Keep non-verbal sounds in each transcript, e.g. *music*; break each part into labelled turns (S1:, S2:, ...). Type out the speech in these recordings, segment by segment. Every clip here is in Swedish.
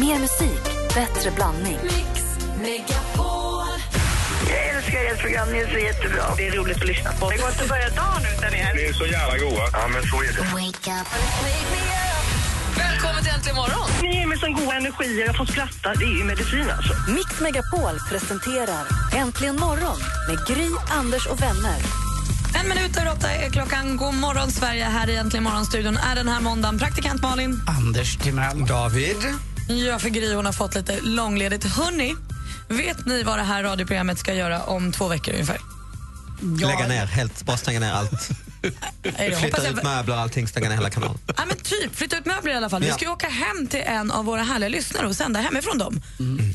S1: Mer musik, bättre blandning.
S2: Jag älskar ert program, ni är så jättebra. Det är roligt att lyssna på. Det går inte att börja dagen utan er.
S3: Ni är så jävla goa. Ja, men så är det.
S4: Välkommen till Äntligen morgon!
S2: Ni ger mig sån god energi, jag får skratta. Det är ju medicin alltså.
S1: Mix Megapol presenterar Äntligen morgon med Gry, Anders och vänner.
S4: En minut över åtta är klockan. God morgon, Sverige. Här i Äntligen morgonstudion är den här måndagen praktikant Malin.
S5: Anders Timell. David.
S4: Ja, för Gry hon har fått lite långledigt. Hörni, vet ni vad det här radioprogrammet ska göra om två veckor ungefär?
S6: Lägga ner, helt, bara stänga ner allt.
S4: Nej, Eh, jag hoppas
S6: Flytta
S4: jag...
S6: ut möbler, allting, stänga ner hela kanalen.
S4: Ja, men typ, flytta ut möbler i alla fall. Vi
S6: Ja.
S4: ska ju åka hem till en av våra härliga lyssnare och sända hemifrån dem.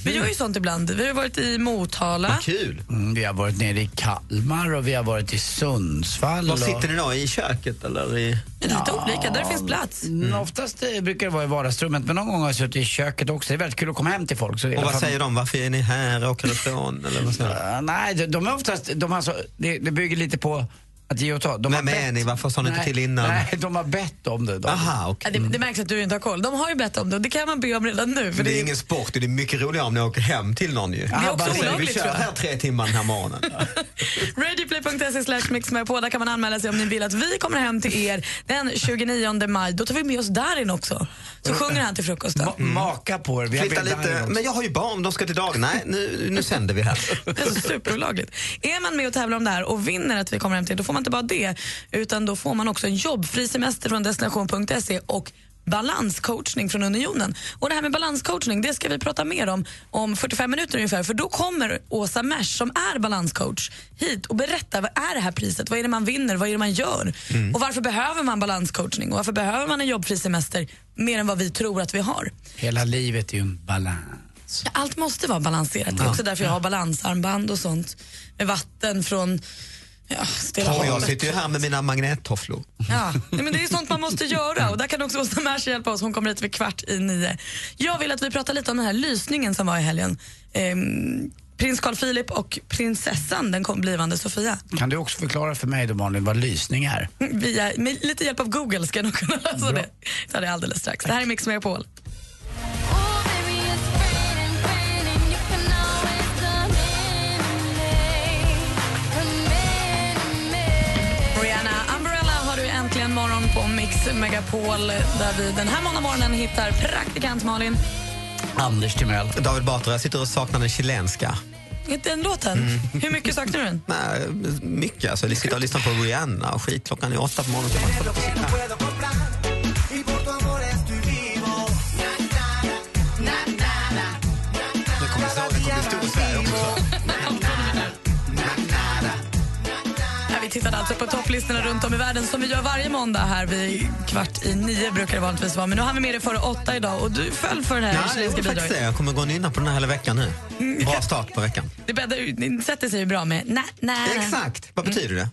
S4: Vi gör ju sånt ibland. Vi har ju varit i Motala.
S6: Kul!
S5: Mm, vi har varit nere i Kalmar och vi har varit i Sundsvall.
S6: Var sitter
S5: och...
S6: ni då? I köket eller i...
S4: Lite olika, där det finns plats.
S5: Mm. Oftast eh, brukar det vara i vardagsrummet men någon gång har jag suttit i köket också. Det är väldigt kul att komma hem till folk. Så
S6: Och vad säger de? Varför är ni här? Åker ifrån? Eller vad säger de?
S5: Eh, nej, de- de är oftast, de har så, det, det bygger lite på att ge och ta. De har
S6: Vem är
S5: bett-
S6: ni? Varför sa ni inte
S5: Nej,
S6: till innan?
S5: Nej, de har bett om det. De.
S6: Aha,
S4: Ja,
S6: okej.
S4: det, det märks att du inte har koll. De har ju bett om det och det kan man be om redan nu. För
S6: Det
S4: det
S6: är ingen sport, det är mycket roligare om ni åker hem till någon ju.
S5: är
S6: Så
S5: också
S6: säger vi,
S4: olagligt,
S6: Vi kör
S4: tror jag."
S6: här tre timmar den här morgonen.
S4: *laughs* Radioplay.se slash mixmegapol. Där kan man anmäla sig om ni vill att vi kommer hem till er den 29 maj. Då tar vi med oss Darin också. Så sjunger han till frukosten.
S5: Ma- Maka på er. Vi har
S6: Mm. Flytta
S5: bilder här
S6: lite.
S5: också.
S6: Men jag har ju barn, de ska till dag. Nej, nu, nu sänder vi här.
S4: *laughs* Det är så superolagligt. Är man med och tävlar om det här och vinner att vi kommer hem till er, då får man inte bara det, utan då får man också en jobbfri semester från destination.se och balanscoachning från Unionen. Och det här med balanscoachning, det ska vi prata mer om om 45 minuter ungefär, för då kommer Åsa Merch som är balanscoach hit och berättar vad är det här priset, vad är det man vinner, vad är det man gör och varför behöver man balanscoachning och varför behöver man en jobbfri semester mer än vad vi tror att vi har.
S5: Hela livet är ju en balans.
S4: Allt måste vara balanserat. Det är också därför jag har balansarmband och sånt med vatten från ja, Stilla
S6: Och jag
S4: havet.
S6: sitter ju här med mina magnettofflor.
S4: Ja, nej, men det är sånt man måste göra och där kan också Åsa Merch hjälpa oss. Hon kommer hit vid kvart i nio. Jag vill att vi pratar lite om den här lysningen som var i helgen. Ehm, prins Carl Philip och prinsessan, den kom blivande Sofia.
S5: Kan du också förklara för mig då Malin vad lysning är?
S4: Via, med lite hjälp av Google ska jag nog kunna lösa det. Ta det alldeles strax. Det här är Mix Megapol. Rihanna Umbrella har du äntligen morgon på Mix Megapol där vi den här måndag morgonen hittar praktikant Malin.
S5: Anders Timell.
S6: David Batra, jag sitter och saknar den chilenska.
S4: Inte den låten? Hur mycket saknar du den?
S6: Nej, mycket. Alltså, jag sitter och lyssnar på Rihanna och skit. Klockan är åtta på morgonen. Det kommer så, det kommer bli stor Sverige också.
S4: Ja, vi tittade alltså på topplistorna runt om i världen som vi gör varje måndag här vid kvart i nio brukar det vanligtvis vara. Men nu har vi med det före åtta idag och du föll för det Mm. här
S6: Nej, det
S4: chilenska
S6: är faktiskt
S4: bidraget.
S6: det. Jag kommer gå och nynna på den här hela veckan nu. Bra start på veckan.
S4: Det bäddar ju- det sätter sig ju bra med na na na
S6: Exakt. Vad betyder det?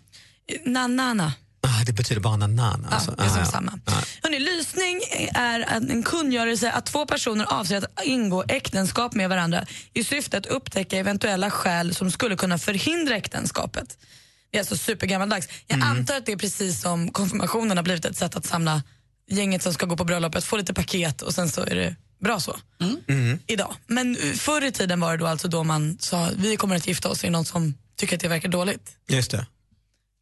S4: na na. na.
S6: Ah, det betyder bara nanana.
S4: Ja,
S6: Alltså.
S4: det är
S6: Ah,
S4: som
S6: ja.
S4: samma.
S6: Ah.
S4: Hörrni, lysning är en kungörelse att två personer avser att ingå äktenskap med varandra i syfte att upptäcka eventuella skäl som skulle kunna förhindra äktenskapet. Det är alltså supergammaldags. Jag
S6: Mm.
S4: antar att det är precis som konfirmationen har blivit ett sätt att samla gänget som ska gå på bröllopet, få lite paket och sen så är det bra så.
S6: Mm.
S4: Idag. Men förr i tiden var det då alltså då man sa vi kommer att gifta oss, är det någon som tycker att det verkar dåligt?
S6: Just det.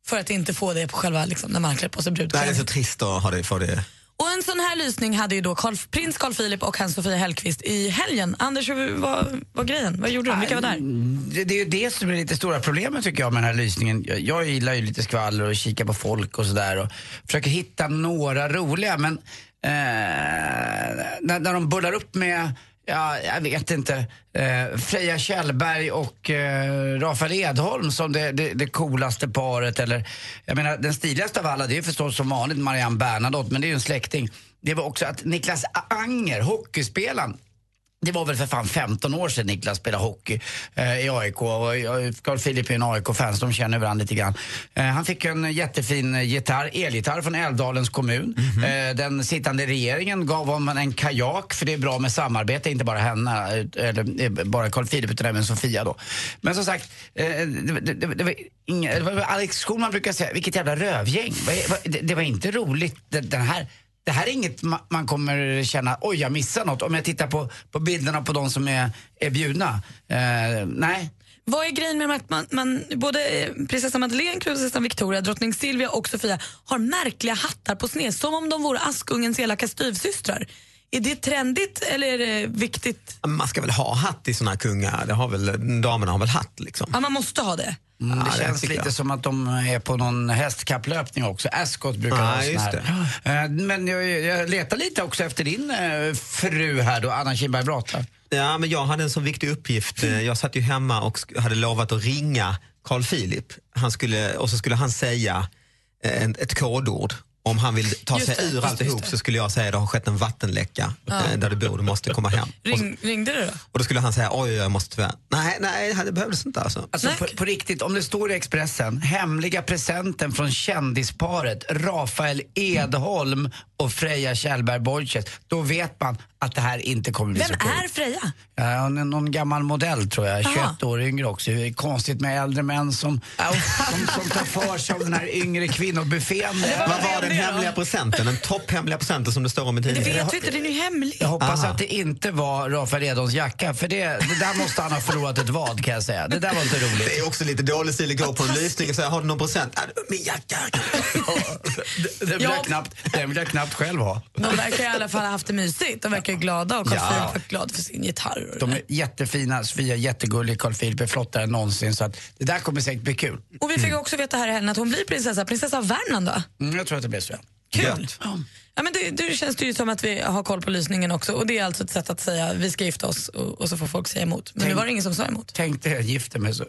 S4: För att inte få det på själva, liksom, när man klär på sig
S6: Nej, det är
S4: brudklänning.
S6: så trist att ha det, få det.
S4: Och en sån här lysning hade ju då Carl, prins Carl Philip och hans Sofia Hellqvist i helgen. Anders, hur var, var grejen? Vad gjorde du? Vilka var där?
S5: Mm, Det, det är ju det som är lite stora problemet tycker jag med den här lysningen. Jag, jag gillar ju lite skvaller och kika på folk och sådär och försöker hitta några roliga men eh, när, när de bullar upp med Ja, jag vet inte. Eh, Freja Kjellberg och eh, Rafael Edholm som det, det, det coolaste paret. Eller, jag menar, den stiligaste av alla det är ju förstås som vanligt Marianne Bernadotte, men det är ju en släkting. Det var också att Niklas Anger, hockeyspelaren, det var väl för fan 15 år sedan Niklas spelade hockey eh, i AIK. Och jag- Carl Philip är en AIK-fans, de känner varandra lite grann. Eh, han fick en jättefin eh, gitarr, elgitarr från Älvdalens kommun. eh, den sittande regeringen gav honom en kajak, för det är bra med samarbete, inte bara henne, ut- eller eh, bara Carl Philip utan även Sofia då. Men som sagt, eh, det, det, det, det var inga, det var Alex Schulman brukar säga, vilket jävla rövgäng. Vad är- vad- Det, det var inte roligt, den, den här det här är inget ma- man kommer känna, oj jag missar något. Om jag tittar på, på bilderna på de som är, är bjudna. Eh, nej,
S4: Vad är grejen med att man, man både eh, prinsessan Madeleine, prinsessan Victoria, drottning Silvia och Sofia har märkliga hattar på sned som om de vore Askungens elaka styvsystrar? Är det trendigt eller är det viktigt?
S6: Man ska väl ha hatt i såna här kungar? Det har väl, damerna har väl hatt liksom?
S4: Ja, man måste ha det.
S5: Mm, det
S6: Ja, det
S5: känns
S6: tycker
S5: lite
S6: jag.
S5: som att de är på någon hästkapplöpning också. Ascot brukar
S6: Ja,
S5: ha sån
S6: just
S5: här. Eh, Men jag, jag letar lite också efter din eh, fru här då, Anna Kinberg Brata.
S6: Ja, men jag hade en sån viktig uppgift. Eh, Jag satt ju hemma och sk- hade lovat att ringa Carl Philip. Han skulle, och så skulle han säga eh, en- ett kodord. Om han vill ta
S4: Just
S6: sig
S4: det,
S6: ur
S4: just det, just
S6: alltihop
S4: det.
S6: så skulle jag säga det har skett en vattenläcka eh, där du bor, du måste komma hem. Och, så,
S4: Ring, ringde du då?
S6: och då skulle han säga oj, jag måste tyvärr. Nej, nej, det behövdes inte alltså.
S5: Alltså
S4: Nej.
S5: på, på riktigt, om det står i Expressen, hemliga presenten från kändisparet Rafael Edholm och Freja Kjellberg Borges, då vet man att det här inte kommer bli
S4: Vem
S5: så kul.
S4: är Freja?
S5: Ja, hon är någon gammal modell tror jag,
S4: Aha.
S5: 21 år yngre också. Det är konstigt med äldre män som, som, som tar för sig av den här yngre kvinnobuffén.
S6: Vad var
S4: det
S6: den
S4: då?
S6: hemliga presenten? Den topphemliga presenten som det står om i
S4: Det
S6: tidningen?
S4: vet vi inte, den är ju hemlig.
S5: Jag hoppas
S6: Aha.
S5: att det inte var Rafael Edholms jacka, för det, det där måste han ha förlorat ett vad kan jag säga. Det där var inte
S6: Det
S5: roligt.
S6: är också lite dålig stil att gå på en lysning och säga har du någon present? "Ja, Min jacka!
S5: Den vill,
S4: Ja.
S5: jag knappt, den vill jag knappt själv ha.
S4: De verkar i alla fall ha haft det mysigt. De verkar ju glada och Carl
S6: Ja.
S4: Philip var glad för sin gitarr. Och, det
S5: De
S4: där.
S5: är jättefina, Sofia är jättegullig, Carl Philip är flottare än någonsin. Så att det där kommer säkert bli kul.
S4: och vi fick också veta här i helgen att hon blir prinsessa. Prinsessa av Värmland då?
S5: Mm, jag tror att det blir så.
S4: Kul!
S6: Gött.
S4: Ja. men det, det känns det ju som att vi har koll på lysningen också. Och Det är alltså ett sätt att säga vi ska gifta oss och, och så får folk säga emot. Men nu var det ingen som sa emot.
S5: Tänk dig, jag gifter mig så.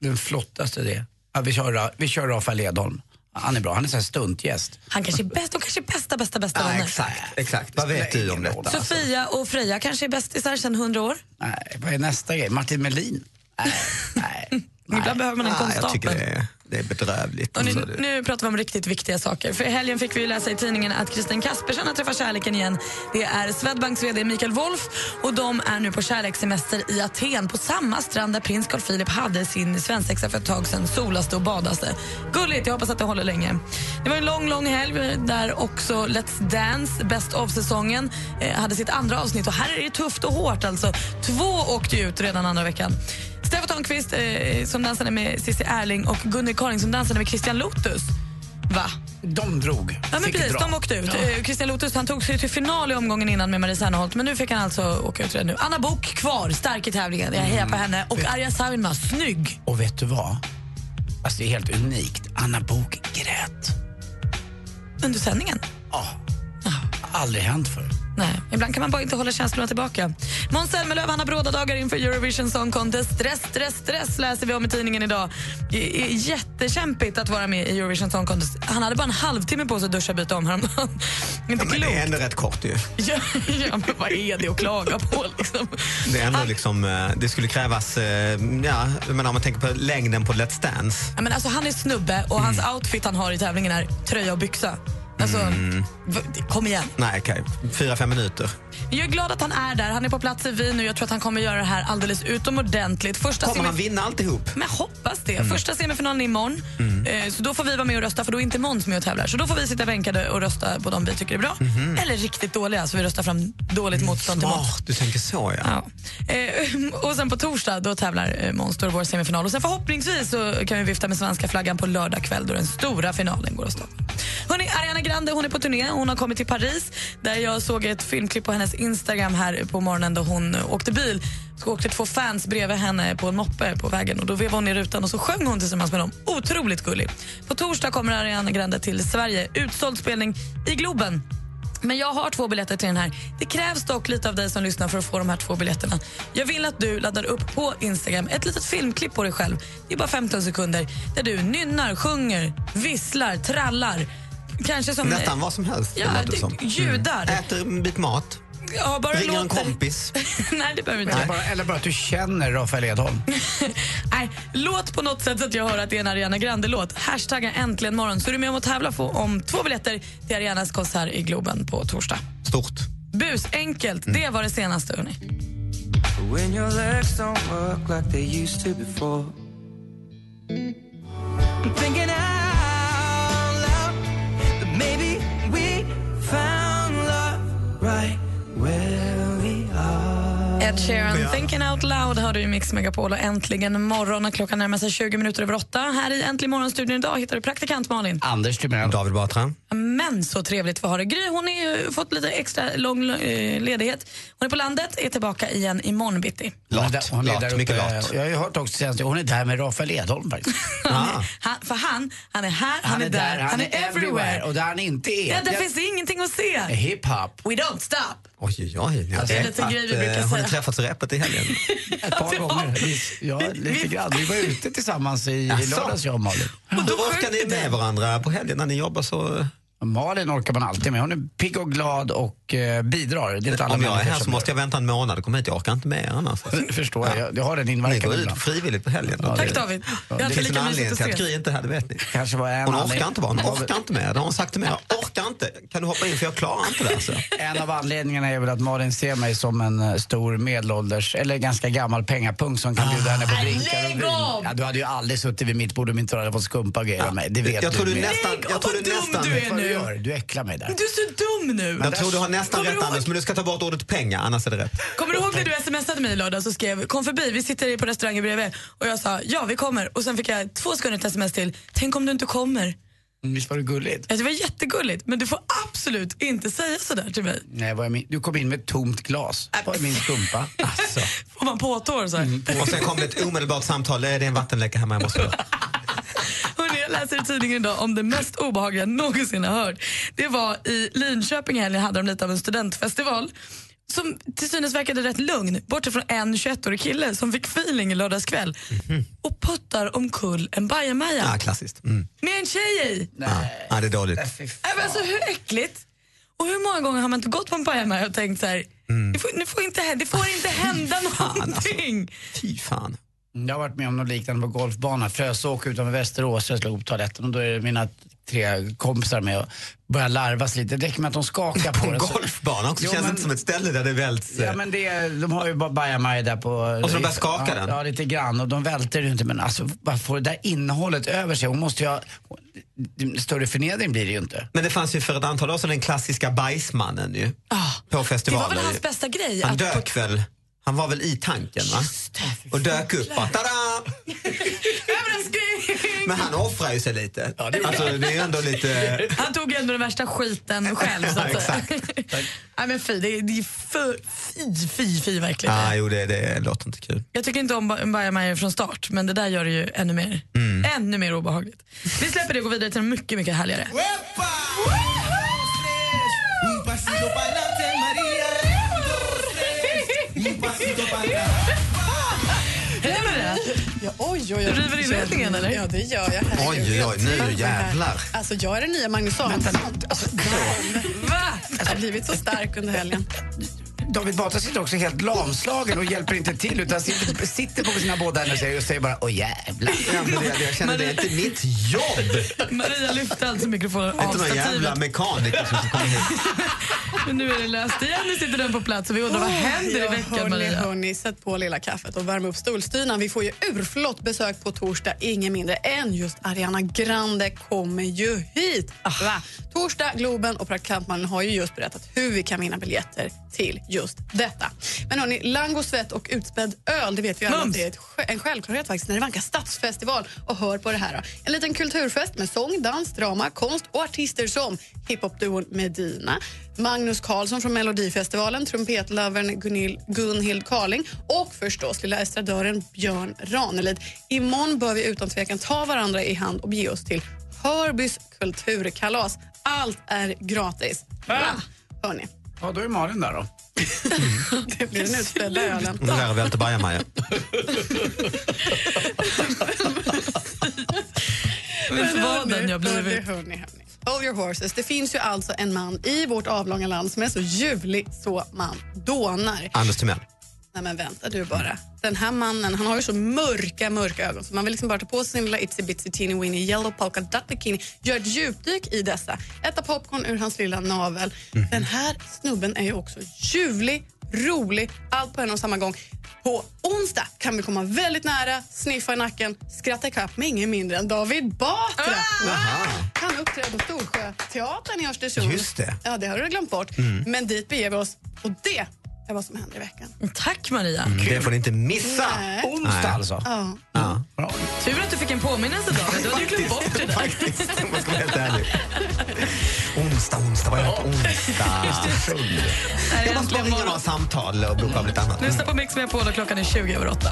S5: Den flottaste det är. ja, vi, kör, Ra- vi kör Rafael Edholm. Han är bra, han är så här stuntgäst.
S4: Han kanske är bäst, de kanske är bästa, bästa, bästa
S6: Ja,
S4: vänner.
S6: exakt, exakt. Vad vet
S5: spelar
S6: du om
S5: ingen roll.
S6: detta?
S4: Sofia och Freja kanske är bästisar sedan hundra år.
S5: Nej, vad är nästa grej? Martin Melin? Nej,
S4: *laughs*
S5: nej.
S4: Ibland behöver man en
S6: Nej, Ah, jag tycker det
S4: konstapel.
S6: är, det är bedrövligt.
S4: Och
S6: Alltså,
S4: nu,
S6: det-
S4: nu pratar vi om riktigt viktiga saker. För i helgen fick vi ju läsa i tidningen att Kristin Kaspersen har träffat kärleken igen. Det är Swedbanks VD Mikael Wolf och de är nu på kärlekssemester i Aten på samma strand där prins Carl Philip hade sin svensexa för ett tag sedan, solaste och badaste. Gulligt, jag hoppas att det håller länge. Det var en lång, lång helg där också Let's Dance, Best of-säsongen, eh, hade sitt andra avsnitt och här är det tufft och hårt alltså. Två åkte ju ut redan andra veckan. Stefan Törnqvist eh, som dansade med Cissi Erling och Gunnar Karin som dansade med Christian Lotus. Va?
S5: De drog.
S4: Ja, men
S5: Fick
S4: precis,
S5: dra.
S4: de åkte ut. Eh, Christian Lotus han tog sig till final i omgången innan med Marie Serneholt men nu fick han alltså åka ut redan nu. Anna Bok kvar, stark i tävlingen. Jag hejar på henne. Och Arja Sainma, snygg!
S5: Och vet du vad? Alltså det är helt unikt. Anna Bok grät.
S4: Under sändningen.
S5: Aldrig hänt förut.
S4: Nej, ibland kan man bara inte hålla känslorna tillbaka. Måns Zelmerlöw han har bråda dagar inför Eurovision Song Contest. Stress, stress, stress läser vi om i tidningen idag. Det är jättekämpigt att vara med i Eurovision Song Contest. Han hade bara en halvtimme på sig att duscha och byta om häromdagen. *laughs* Inte
S6: Men
S4: klokt.
S6: det är ändå rätt kort ju.
S4: Ja, ja, men vad är det att klaga på liksom?
S6: Det, är ändå
S4: Han-
S6: liksom, eh, det skulle krävas, eh, ja, jag menar, om man tänker på längden på Let's Dance.
S4: Ja, men alltså, han är snubbe och hans
S6: Mm.
S4: outfit han har i tävlingen är tröja och byxa. Alltså,
S6: Mm.
S4: v- kom igen.
S6: Nej, okej. Fyra, fem minuter.
S4: Jag är glad att han är där. Han är på plats i Wien nu. Jag tror att han kommer göra det här alldeles utomordentligt. Första
S6: Kommer
S4: semif-
S6: han vinna alltihop?
S4: Men jag hoppas det. Första semifinalen är imorgon. Eh, så då får vi vara med och rösta, för då är inte Måns med och tävlar. Så då får vi sitta bänkade och rösta på de vi tycker är bra. Eller riktigt dåliga, så vi röstar fram dåligt motstånd till Måns.
S6: Smart, du tänker så ja.
S4: Ja. Eh, och sen på torsdag då tävlar eh, Måns då är det vår semifinal. Och sen förhoppningsvis så kan vi vifta med svenska flaggan på lördag kväll då den stora finalen går av stapeln. Hörrni, Ariana Grande hon är på turné. Hon har kommit till Paris där jag såg ett filmklipp på hennes Instagram här på morgonen då hon eh, åkte bil. Så åkte två fans bredvid henne på en moppe på vägen och då vevade hon i rutan och så sjöng hon tillsammans med dem. Otroligt gullig. På torsdag kommer Ariana Grande till Sverige. Utsåld spelning i Globen. Men jag har två biljetter till den här. Det krävs dock lite av dig som lyssnar för att få de här två biljetterna. Jag vill att du laddar upp på Instagram ett litet filmklipp på dig själv. Det är bara 15 sekunder där du nynnar, sjunger, visslar, trallar. Kanske som... eh,
S6: Nästan vad som helst.
S4: Ja,
S6: låter
S4: det-
S6: som.
S4: judar.
S6: Mm. Äter en bit mat,
S4: Ja, bara
S6: ringer en
S4: låter-
S6: kompis.
S4: *laughs* Nej, det behöver vi
S5: Eller
S4: inte.
S5: bara, eller bara att du känner Rafael Edholm.
S4: Nej, låt på något sätt så att jag hör att det är en Ariana Grande-låt. Hashtagga äntligen morgon så är du med om att tävla få- om två biljetter till Arianas konsert i Globen på torsdag.
S6: Stort.
S4: Bus, enkelt. Det var det senaste, hörni.
S7: When your legs don't work like they used to before. I'm thinking out loud that maybe we found
S4: Ed Sheeran, Thinking Out Loud hör du i Mix Megapol och äntligen morgon och klockan närmar sig 20 minuter över åtta. Här i Äntligen morgonstudion idag hittar du praktikant Malin.
S5: Anders Timell.
S6: David Batra.
S4: Men så trevligt vi har det. Gry hon har ju fått lite extra lång eh, ledighet. Hon är på landet, är tillbaka igen imorgon bitti.
S5: Hon är
S6: Lat,
S5: där- hon är
S6: lat,
S5: där uppe.
S6: mycket lat.
S5: Jag har ju hört också senast, hon är där med Rafael Edholm faktiskt.
S6: Ah.
S4: *laughs* Han, för han, han är här, *laughs* han, är, där, han, är, everywhere.
S5: Och där han inte är,
S4: Ja, det finns ingenting att se.
S5: hiphop.
S4: We don't stop.
S6: Oj, oj, oj. ni har
S5: Alltså, det är
S4: lite
S6: träffat,
S4: grejer vi
S6: eh,
S4: brukar
S6: Har
S4: säga.
S6: ni träffats och repat i helgen?
S4: *laughs*
S5: Ett par
S4: Ja.
S5: gånger. Vi- Ja, lite grann. Vi var ute tillsammans i, i
S6: Jaså?
S5: lördags jag och Malin.
S6: Och då orkar
S4: sjunger
S6: ni med varandra på helgen när ni jobbar så...
S5: Malin orkar man alltid med. Hon är pigg och glad och eh, bidrar. Det är inte alla
S6: Om jag är
S5: människor
S6: här så
S5: som
S6: måste jag vänta en månad och komma hit. Jag orkar inte med er annars.
S5: gör det. Förstår jag. jag. Det har den
S6: Ni
S5: inverkan
S6: går ut
S5: ibland.
S6: frivilligt på helgen.
S5: Ja,
S4: Tack David. Jag
S6: Det
S4: hade
S6: finns en
S4: lika
S6: anledning
S4: mysigt
S6: till
S4: att
S6: att
S4: se.
S6: Gry inte är här, det vet ni.
S5: Kanske var en
S6: Hon
S5: anledning-
S6: orkar inte vara hon
S5: Ja, men-
S6: orkar inte med. Det har hon sagt till mig. Jag orkar inte. Kan du hoppa in för jag klarar inte det. Alltså.
S5: En av anledningarna är väl att Malin ser mig som en eh, stor medelålders, eller ganska gammal pengapung som kan bjuda henne på
S4: Ah,
S5: drinkar och
S4: lägg
S5: vin.
S4: av!
S5: Ja, du hade ju aldrig suttit vid mitt bord om inte du hade fått skumpa och grejer av mig. Det vet
S6: Jag
S5: du
S6: tror du
S5: med.
S6: nästan...
S4: Tänk,
S6: Jag
S4: och
S6: tror
S4: vad
S6: du
S4: dum
S6: nästan...
S4: du är.
S5: Vad du
S4: nu.
S5: gör, du äcklar mig där.
S4: Du är så dum nu.
S6: Jag tror du har nästan
S4: Kommer
S6: rätt
S4: du ihåg-
S6: Anders, men du ska ta bort ordet pengar, annars är det rätt.
S4: Kommer du ihåg när du smsade mig i lördags och skrev kom förbi, vi sitter på restaurangen bredvid och jag sa ja vi kommer och sen fick jag två sekunder ett sms till, tänk om du inte kommer.
S5: Mm, Visst var det gulligt?
S4: Alltså, det var jättegulligt men du får absolut inte säga sådär till mig.
S5: Nej, vad jag min- du kom in med ett tomt glas. Var är min skumpa?
S4: Äh,
S5: Alltså.
S4: Får man påtår så här.
S6: Och sen kom det ett omedelbart samtal. "Eh, Det är en vattenläcka hemma, jag måste
S4: Hörrni, jag läser i tidningen idag om det mest obehagliga jag någonsin har hört. Det var i Linköping i helgen hade de lite av en studentfestival som till synes verkade rätt lugn, bortsett från en 21-årig kille som fick feeling i lördags kväll och puttar omkull en bajamaja
S6: Ja, klassiskt. Mm.
S4: med en tjej i.
S6: Ja. Ja, det är dåligt.
S5: äh,
S4: Nej, men alltså, hur äckligt? Och hur många gånger har man inte gått på en bajamaja och tänkt så här, det, får, det, får inte, hä- det får inte hända
S6: alltså.
S4: någonting.
S6: Fy fan.
S5: Jag har varit med om något liknande på golfbanan. Frösåk utanför Västerås, jag slog upp toaletten och då är det mina tre kompisar med och börjar larvas lite. Det räcker med att de
S6: *laughs*
S5: skakar på
S6: På en
S5: den så-
S6: golfbana också.
S5: Jo,
S6: Känns
S5: men-
S6: inte som ett ställe där det välts. eh,
S5: Ja men det, de har ju bara bajamaj där på...
S6: Och så de börjar skaka
S5: ja,
S6: den?
S5: Ja, lite grann. Och de välter ju inte. Men alltså, bara få det där innehållet över sig. Hon måste ju ha... Större förnedring blir det ju inte.
S6: Men det fanns ju för ett antal år sedan den klassiska bajsmannen ju.
S4: Ah,
S6: På
S4: det var
S6: festivaler.
S4: väl hans
S6: ju.
S4: bästa grej?
S6: han
S4: att på-
S6: dök väl, han var väl i tanken va? Och dök upp bara, tada!
S4: Liksom. Överraskning!
S6: Men han offrar ju sig lite.
S5: Ja, det gjorde
S6: alltså, det är ju ändå lite...
S4: Han tog ju ändå den värsta skiten själv. Så att säga. *laughs* Nej men fy, det är, det är för, fy, fy, fy verkligen.
S6: ah, jo, det, det låter inte kul.
S4: Jag tycker inte om ba- bajamajor från start, men det där gör det ju ännu mer,
S6: Mm.
S4: ännu mer obehagligt. Vi släpper det och går vidare till en mycket, mycket härligare. Händer det?
S8: Ja, oj, oj,
S4: Du
S8: oj.
S4: river inredningen, eller?
S8: Ja, det gör jag.
S6: Oj,
S8: Herregud,
S6: oj, nu
S8: jag trivs med det här.
S6: jävlar.
S8: Alltså, jag är den nya Magnus Samuelsson. Alltså,
S4: Va?
S8: jag har blivit så stark under helgen.
S5: David Batra sitter också helt lamslagen och hjälper inte till utan sitter, sitter på sina båda händer och säger, och säger bara åh jävlar.
S6: Ja, men det, jag känner det är inte mitt jobb.
S4: Maria lyfte alltså mikrofonen
S6: Det är
S4: av
S6: inte någon jävla
S4: stativet.
S6: mekaniker som ska komma hit.
S4: Men nu är det löst igen. Nu sitter den på plats och vi undrar vad händer i
S8: Ja,
S4: veckan
S8: hörni,
S4: Maria?
S8: Hörni, sätt på lilla kaffet och värm upp stolstynan. Vi får ju urflott besök på torsdag. Ingen mindre än just Ariana Grande kommer ju hit.
S4: Ah.
S8: Va? Torsdag, Globen och praktikantmannen har ju just berättat hur vi kan vinna biljetter till just detta. Men hörni, lang och svett och utspädd öl, det vet vi alla att
S4: Mums.
S8: det är ett, sj- en självklarhet faktiskt när det vankar stadsfestival. Och hör på det här då. En liten kulturfest med sång, dans, drama, konst och artister som hiphopduon Medina, Magnus Karlsson från Melodifestivalen, trumpetlovern Gunil- Gunhild Carling och förstås lilla estradören Björn Ranelid. Imorgon bör vi utan tvekan ta varandra i hand och bege oss till Hörbys kulturkalas. Allt är gratis. Va? Hörni,
S5: Ja då är Malin där då.
S8: det blir den utspädda ölen.
S6: Hon lär välta bajamaja.
S4: Vaden jag blivit.
S8: Hörni, hörni, hörni. Hold your horses. Det finns ju alltså en man i vårt avlånga land som är så ljuvlig så man dånar.
S6: Anders Timell.
S8: Nej men vänta du bara. Den här mannen han har ju så mörka, mörka ögon så man vill liksom bara ta på sig sin lilla itsy bitsy teeny weeny yellow polka dot bikini, gör ett djupdyk i dessa, äta popcorn ur hans lilla navel. Den här snubben är ju också ljuvlig, rolig, allt på en och samma gång. På onsdag kan vi komma väldigt nära, sniffa i nacken, skratta ikapp med ingen mindre än David Batra.
S4: Ah!
S8: Han uppträdde på Storsjöteatern i Östersund.
S6: Just det. Mm.
S8: Ja, det har du glömt bort. Men dit beger vi oss och det
S9: är vad som händer i veckan.
S4: Tack Maria.
S6: Det får ni inte missa.
S9: Nej.
S5: Onsdag
S6: Nej.
S5: alltså.
S9: Ja.
S6: Ja,
S5: Bra.
S4: Tur att du fick en påminnelse David, du hade ju glömt bort det där.
S6: Oh, faktiskt. Om man ska vara helt ärlig. Onsdag, onsdag, vad är det? Onsdag.
S4: Här är
S6: Jag måste bara
S4: Äntligen
S6: ringa några
S4: morgon.
S6: samtal och boka av lite annat.
S4: Lyssna på Mix Megapol och klockan är 20 över 8.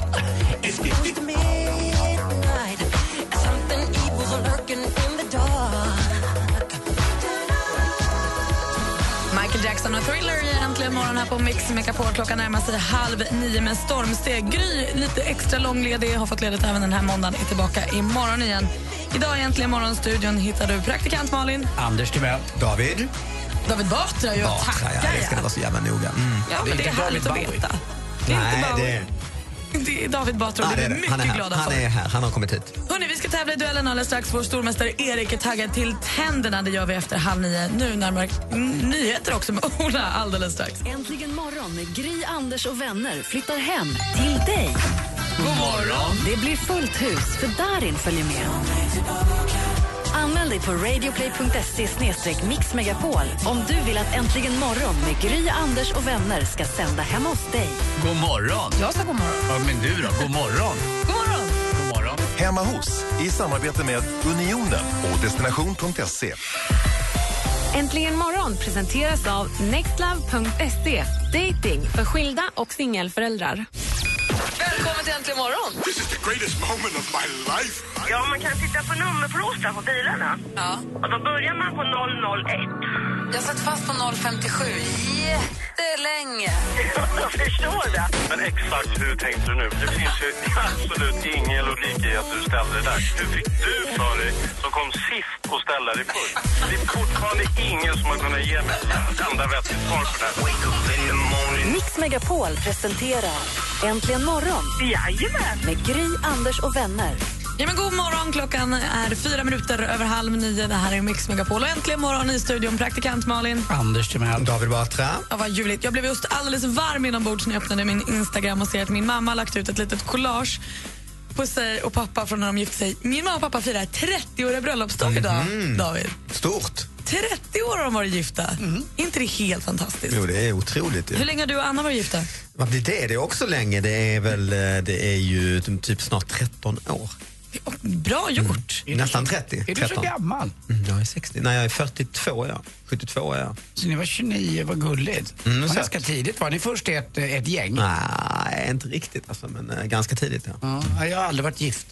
S4: Michael Jackson och Thriller i Äntligen morgon här på Mix Megapol. Klockan närmar sig halv nio med stormsteg. Gry, lite extra långledig, har fått ledigt även den här måndagen, är tillbaka imorgon igen. Idag i Äntligen morgon-studion hittar du praktikant Malin,
S5: Anders Timell.
S6: Mm. David?
S4: David Batra ju,
S6: Batra,
S4: tackar
S6: ja. Det ska det vara så jävla noga. Mm.
S4: Ja, men det är
S5: inte
S4: härligt att
S5: David Bowie.
S4: veta. Det är inte Bowie.
S6: det-
S4: Det är David Batra och
S6: Nej,
S4: det
S6: det
S4: är
S6: är
S4: vi
S6: det. Han är
S4: mycket
S6: här.
S4: glada
S6: Han
S4: för.
S6: är här. Han har kommit hit.
S4: Hörni, vi ska tävla i duellen alldeles strax. Vår stormästare Erik är taggad till tänderna. Det gör vi efter halv nio. Nu närmare mm, nyheter också med *laughs* Ola alldeles strax.
S1: Äntligen morgon med Gry, Anders och vänner flyttar hem till dig.
S4: God morgon!
S1: Det blir fullt hus för Darin följer med. Anmäl dig på radioplay.se mixmegapol om du vill att Äntligen morgon med Gry, Anders och vänner ska sända hemma hos dig.
S5: God morgon.
S4: Jag sa god morgon.
S5: Ja, men du då? God morgon.
S4: God morgon!
S5: God morgon.
S10: Hemma hos i samarbete med Unionen och destination.se.
S11: Äntligen morgon presenteras av nextlove.se. Dating för skilda och singelföräldrar.
S4: Välkommen till Äntligen morgon!
S2: Ja, man kan titta på nummerplåtar på bilarna.
S11: Ja.
S2: Och då börjar man på 001.
S11: Jag satt fast på 057 jättelänge.
S2: *laughs* Jag förstår det.
S3: Men exakt hur tänkte du nu? För det finns ju absolut ingen logik i att du ställde det där. Hur fick du för dig, som kom sist, att ställa dig först? Det är fortfarande ingen som har kunnat ge mig ett enda vettigt svar på det här. Wake up in the morning.
S1: Mix Megapol presenterar Äntligen morgon
S2: Jajamän.
S1: med Gry, Anders och vänner.
S4: Ja, men god morgon, klockan är fyra minuter över halv nio. Det här är Mix Megapol och Äntligen morgon i studion. Praktikant Malin.
S5: Anders Timell.
S6: David Batra.
S4: Ja, vad ljuvligt. Jag blev just alldeles varm inombords när jag öppnade min Instagram och ser att min mamma har lagt ut ett litet collage på sig och pappa från när de gifte sig. Min mamma och pappa firar 30-åriga bröllopsdag idag,
S5: Mhm.
S4: David.
S6: Stort.
S4: 30 år har de varit gifta. Är inte det helt fantastiskt?
S6: Mm. Jo, det är otroligt. ju.
S4: Hur länge har du och Anna varit gifta?
S6: Vad blir det? Det är också länge. Det är väl, eh, det är ju typ snart 13 år.
S4: Ja, Bra gjort!
S6: Nästan 30.
S5: Är du så
S6: 13.
S5: gammal?
S6: Mm, Jag är 60. Nej, jag är 42 är jag. 72 är jag.
S5: Så ni var 29, vad gulligt.
S6: Mm,
S5: var
S6: så.
S5: ganska tidigt var ni först i ett, ett gäng?
S6: Nej, inte riktigt alltså, men eh, ganska tidigt ja.
S5: Ja, jag har aldrig varit gift.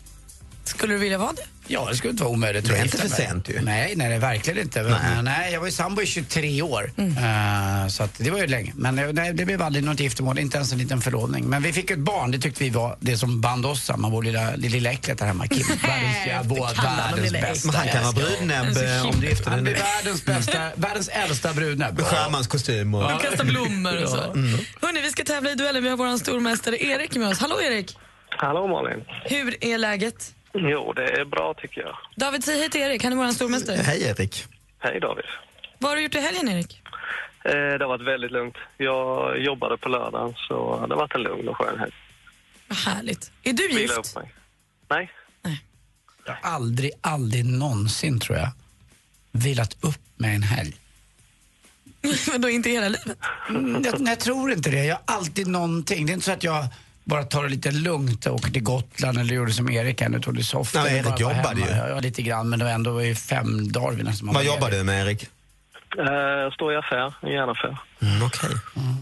S4: Skulle du vilja vara det?
S5: Ja, det skulle inte vara omöjligt.
S6: Det är
S5: att
S6: inte
S5: gifta
S6: för
S5: mig.
S6: sent ju.
S5: Nej, nej, det är verkligen inte. Men, eh, nej. jag var ju sambo i 23 år.
S4: Mm.
S5: Eh, så att det var ju länge. Men eh, nej, det blev aldrig något giftermål, inte ens en liten förlovning. Men vi fick ett barn, det tyckte vi var det som band oss samman, vår lilla, lilla äcklet här
S4: *laughs*
S5: hemma. Kim, världens, ja, vår,
S4: kallar man
S5: världens
S4: lilla
S5: bästa.
S6: Men han kan vara brudnäbb eh, om du gifter dig
S5: Han blir
S6: nu.
S5: världens bästa, världens äldsta brudnäbb.
S6: Med sjömanskostym och...
S4: Du kastar blommor och så.
S6: Mm.
S4: Hörrni, vi ska tävla i duellen. Vi har vår stormästare Erik med oss. Hallå Erik!
S3: Hallå Malin.
S4: Hur är läget?
S3: Jo, det är bra tycker jag.
S4: David, säg hej till Erik. Han är vår stormästare.
S6: Hej Erik.
S3: Hej David.
S4: Vad har du gjort i helgen Erik?
S3: Eh, det har varit väldigt lugnt. Jag jobbade på lördagen så det har varit en lugn och skön helg.
S4: Vad härligt. Är du
S3: Vila
S4: gift?
S3: upp mig. Nej,
S5: Aldrig, aldrig någonsin tror jag vilat upp med en helg.
S4: *laughs* Men då inte i hela livet.
S5: Mm, jag, nej, jag tror inte det. Jag har alltid någonting. Det är inte så att jag bara tar det lite lugnt och åker till Gotland eller gjorde som Erik här nu, tog det soft.
S6: Ja, men Erik jobbade ju.
S5: Ja, ja, lite grann, men det var ändå i fem dagar vi nästan
S6: Vad jobbar du med Erik?
S3: eh, står i affär, i järnaffär.
S6: Mm, Okej.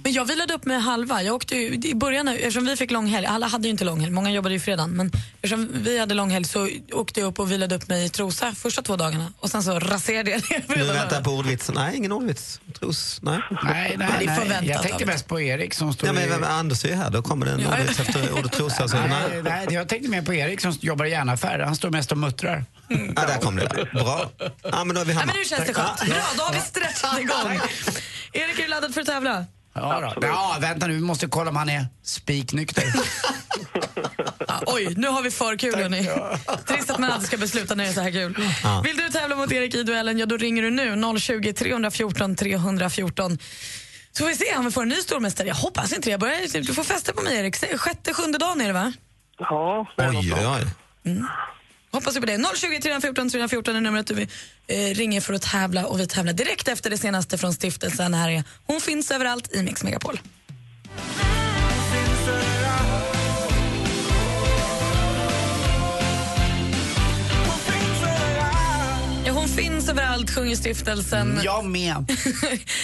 S4: Men jag vilade upp med halva. Jag åkte ju, I början, eftersom vi fick lång helg, alla hade ju inte lång helg, många jobbade ju fredagen, men eftersom vi hade lång helg så åkte jag upp och vilade upp mig i Trosa första två dagarna och sen så raserade jag det.
S6: Nu väntar jag på ordvitsen. Nej, ingen ordvits. Tros. Nej.
S5: Nej, nej,
S4: Ja, det är
S5: nej.
S4: förväntat
S5: Jag
S4: av
S5: tänkte
S4: dig.
S5: mest på Erik som står
S6: Ja, men
S5: i...
S6: vem- Anders är ju här. Då kommer det en ordvits efter ordet trosa. Så,
S5: Nej,
S6: nej.
S5: nej, jag tänkte mer på Erik som jobbar i järnaffär. Han står mest och muttrar.
S6: Ja, där kom det. där. Bra. Ja, men då är vi
S4: Nej,
S6: hemma.
S4: men nu känns det skönt. Bra, då har vi stretchat igång. Erik, är du laddad för att tävla?
S5: Ja, då. ja, vänta nu, vi måste kolla om han är spiknykter.
S6: *laughs*
S4: Ja, oj, nu har vi för kul hörni. *laughs* Trist att man alltid ska besluta när det är så här kul.
S6: Ja.
S4: Vill du tävla mot Erik i duellen, ja då ringer du nu 020 314 314. Så får vi se om vi får en ny stormästare. Jag hoppas inte det. Jag börjar, du får fästa på mig Erik. Se- Sjätte, sjunde dagen är det va?
S3: Ja, det är något
S6: Oj,
S3: sånt.
S6: oj, oj.
S4: Hoppas du på det. 020 314 314 är numret du eh, ringer för att tävla och vi tävlar direkt efter det senaste från stiftelsen. Här är Hon finns överallt i Mix Megapol. Ja, hon finns överallt, sjunger stiftelsen.
S5: Jag med.
S4: *laughs*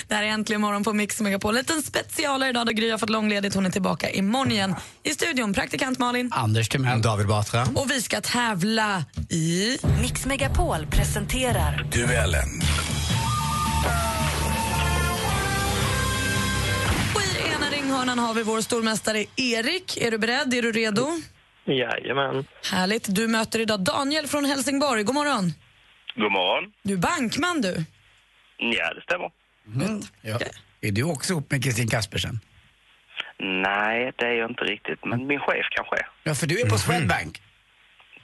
S4: det här är Äntligen morgon på Mix Megapol. En liten specialare idag då Gry har fått långledigt. Hon är tillbaka imorgon igen. I studion, praktikant Malin.
S5: Anders Timell.
S6: David Batra.
S4: Och vi ska tävla i...
S1: Mix Megapol presenterar
S10: Duellen.
S4: Och i ena ringhörnan har vi vår stormästare Erik. Är du beredd? Är du redo?
S3: Jajamän.
S4: Härligt. Du möter idag Daniel från Helsingborg. God morgon.
S3: God morgon.
S4: Du är bankman du.
S3: Ja, det stämmer.
S5: Mm. Ja. Är du också ihop med Kristin Kaspersen?
S3: Nej, det är jag inte riktigt. Men min chef kanske är.
S5: Ja, för du är på Swedbank.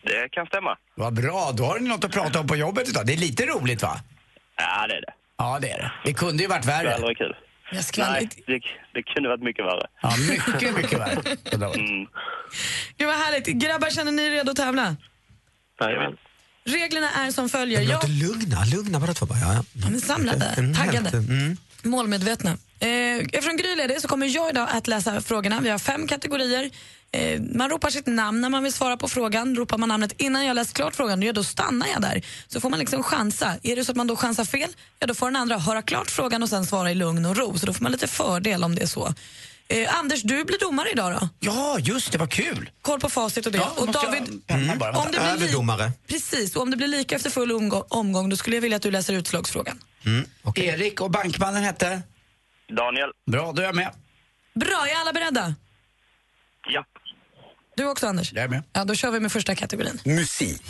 S3: Det kan stämma.
S5: Vad bra, då har ni något att prata om på jobbet idag. Det är lite roligt va?
S3: Ja, det är det.
S5: Ja, det är det. Det kunde ju varit
S3: Det är
S5: värre.
S3: aldrig kul.
S4: Jag skvallrar.
S3: Nej, det, det kunde varit mycket värre.
S5: Ja, mycket, mycket värre.
S3: Mm.
S4: Gud vad härligt. Grabbar, känner ni er redo att tävla?
S3: Jajamän.
S4: Reglerna är som följer.
S6: Men
S4: Jag...
S6: låt det Lugna, lugna bara två bara. Ja, ja.
S4: De är samlade,
S6: Mm,
S4: taggade,
S6: helt, mm.
S4: målmedvetna. Eh, eftersom Gry leder så kommer jag idag att läsa frågorna. Vi har fem kategorier. Eh, man ropar sitt namn när man vill svara på frågan. Ropar man namnet innan jag läst klart frågan, ja, då stannar jag där. Så får man liksom chansa. Är det så att man då chansar fel, ja, då får den andra höra klart frågan och sen svara i lugn och ro. Så då får man lite fördel om det är så. Eh, Anders, du blir domare idag då.
S5: Ja, just det, vad kul!
S4: Koll på facit och det.
S5: Ja,
S4: och
S5: måste jag
S4: David,
S5: penna bara, vänta.
S4: det blir li-
S6: Överdomare.
S4: Precis, och om det blir lika efter full omgång, omgång, då skulle jag vilja att du läser utslagsfrågan.
S5: Erik och bankmannen hette?
S3: Daniel.
S5: Bra, då är jag med.
S4: Bra, är alla beredda?
S3: Ja.
S4: Du också Anders?
S5: Jag är med.
S4: Ja, då kör vi med första kategorin.
S10: Musik.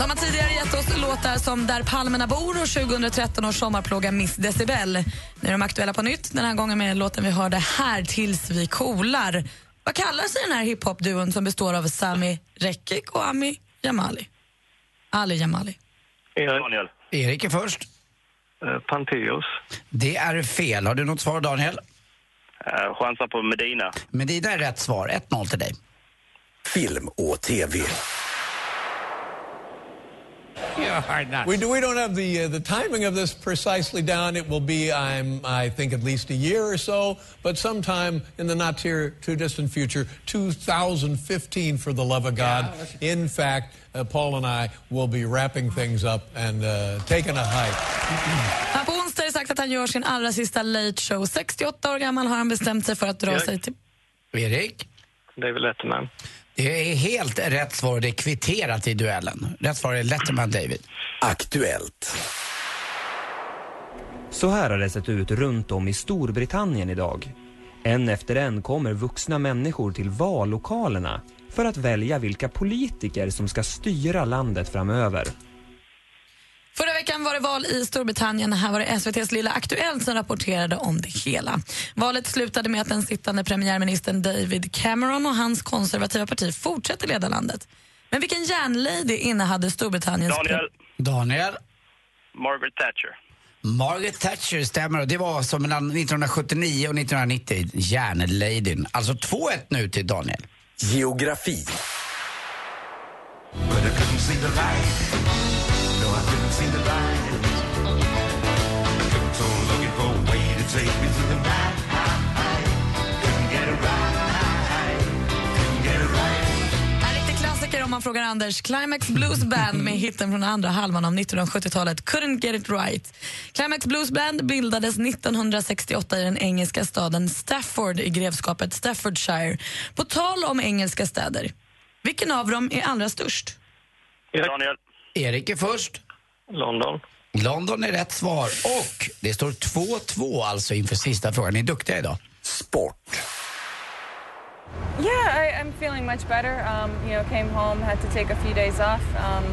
S4: De har tidigare gett oss låtar som Där palmerna bor och 2013 års sommarplåga Miss Decibel. Nu är de aktuella på nytt, den här gången med låten vi hörde Här tills vi kolar. Vad kallar sig den här hiphop-duon som består av Sami Rekik och Ami Jamali? Ali Jamali.
S3: Daniel.
S5: Erik är först.
S3: Eh, Panteos.
S5: Det är fel. Har du något svar, Daniel?
S3: Eh, chansar på Medina.
S5: Men det där är rätt svar. 1-0 till dig.
S10: Film och tv.
S12: We, do, we don't have the, uh, the timing of this precisely down. It will be, I'm, I think, at least a year or so, but sometime in the not too, too distant future, 2015, for the love of God. In fact, uh, Paul and I will be wrapping things up and uh, taking a hike.
S4: Han har på onsdag sagt att han gör sin allra sista late show. 68 år gammal har han bestämt sig för att dra
S3: Ja.
S4: sig till...
S5: Erik?
S3: Det är väl Letterman.
S5: Det är helt rätt svar. Det är kvitterat i duellen. Rätt svar är Letterman David.
S10: Aktuellt.
S12: Så här har det sett ut runt om i Storbritannien idag. En efter en kommer vuxna människor till vallokalerna för att välja vilka politiker som ska styra landet framöver.
S4: Förra veckan var det val i Storbritannien. Här var det SVTs lilla Aktuellt som rapporterade om det hela. Valet slutade med att den sittande premiärministern David Cameron och hans konservativa parti fortsätter leda landet. Men vilken järnlady innehade Storbritanniens...
S3: Daniel.
S5: Daniel?
S3: Margaret Thatcher.
S5: Margaret Thatcher stämmer och det var som mellan 1979 och 1990. Järnladyn. Alltså 2-1 nu till Daniel.
S10: Geografi.
S4: En riktig klassiker om man frågar Anders. Climax Blues Band med hitten från andra halvan av 1970-talet, Couldn't Get It Right. Climax Blues Band bildades 1968 i den engelska staden Stafford i grevskapet Staffordshire. På tal om engelska städer, vilken av dem är allra störst?
S3: Daniel.
S5: Erik är först.
S3: London.
S5: London är rätt svar och det står 2-2 alltså inför sista frågan. Ni är duktiga idag.
S10: Sport.
S11: Yeah, I, I'm feeling much better. Um, you know, came home, had to take a few days off. Um,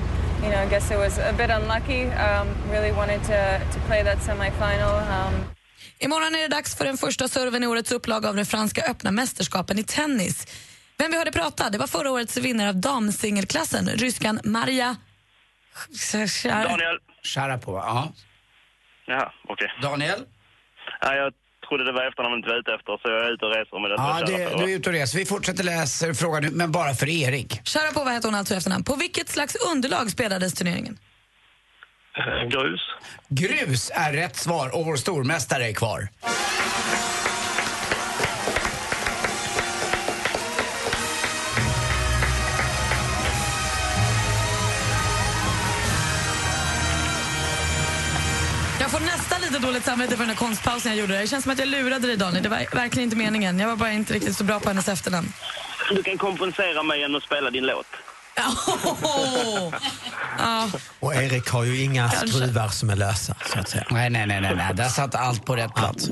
S11: you know, I guess it was a bit unlucky. Um, really wanted to, to play that semifinal. Um,
S4: Imorgon är det dags för den första serven i årets upplaga av den franska öppna mästerskapen i tennis. Vem vi hörde prata, det var förra årets vinnare av damsingelklassen, ryskan Maria...
S3: Daniel.
S5: Sharapova. Ja.
S3: Jaha, okej.
S5: Daniel?
S3: Nej, jag
S13: trodde det var efternamnet vi var ute efter, så jag är ute och reser med detta.
S5: Ja,
S13: kära
S5: du,
S13: förra.
S5: du är ute och reser. Vi fortsätter läsa frågan nu, men bara för Erik.
S4: Sharapova hette hon alltså i efternamn. På vilket slags underlag spelades turneringen?
S3: Eh,
S5: Grus. Grus är rätt svar och vår stormästare är kvar.
S4: Jag får nästan lite dåligt samvete för den här konstpausen jag gjorde. Det känns som att jag lurade dig, Daniel. Det var verkligen inte meningen. Jag var bara inte riktigt så bra på hennes efternamn.
S13: Du kan kompensera mig genom att spela din låt.
S4: Ja.
S6: Och Erik har ju inga
S4: Kanske.
S6: skruvar som är lösa, så att säga.
S5: Nej, nej, nej, nej, nej. där satt allt på rätt plats.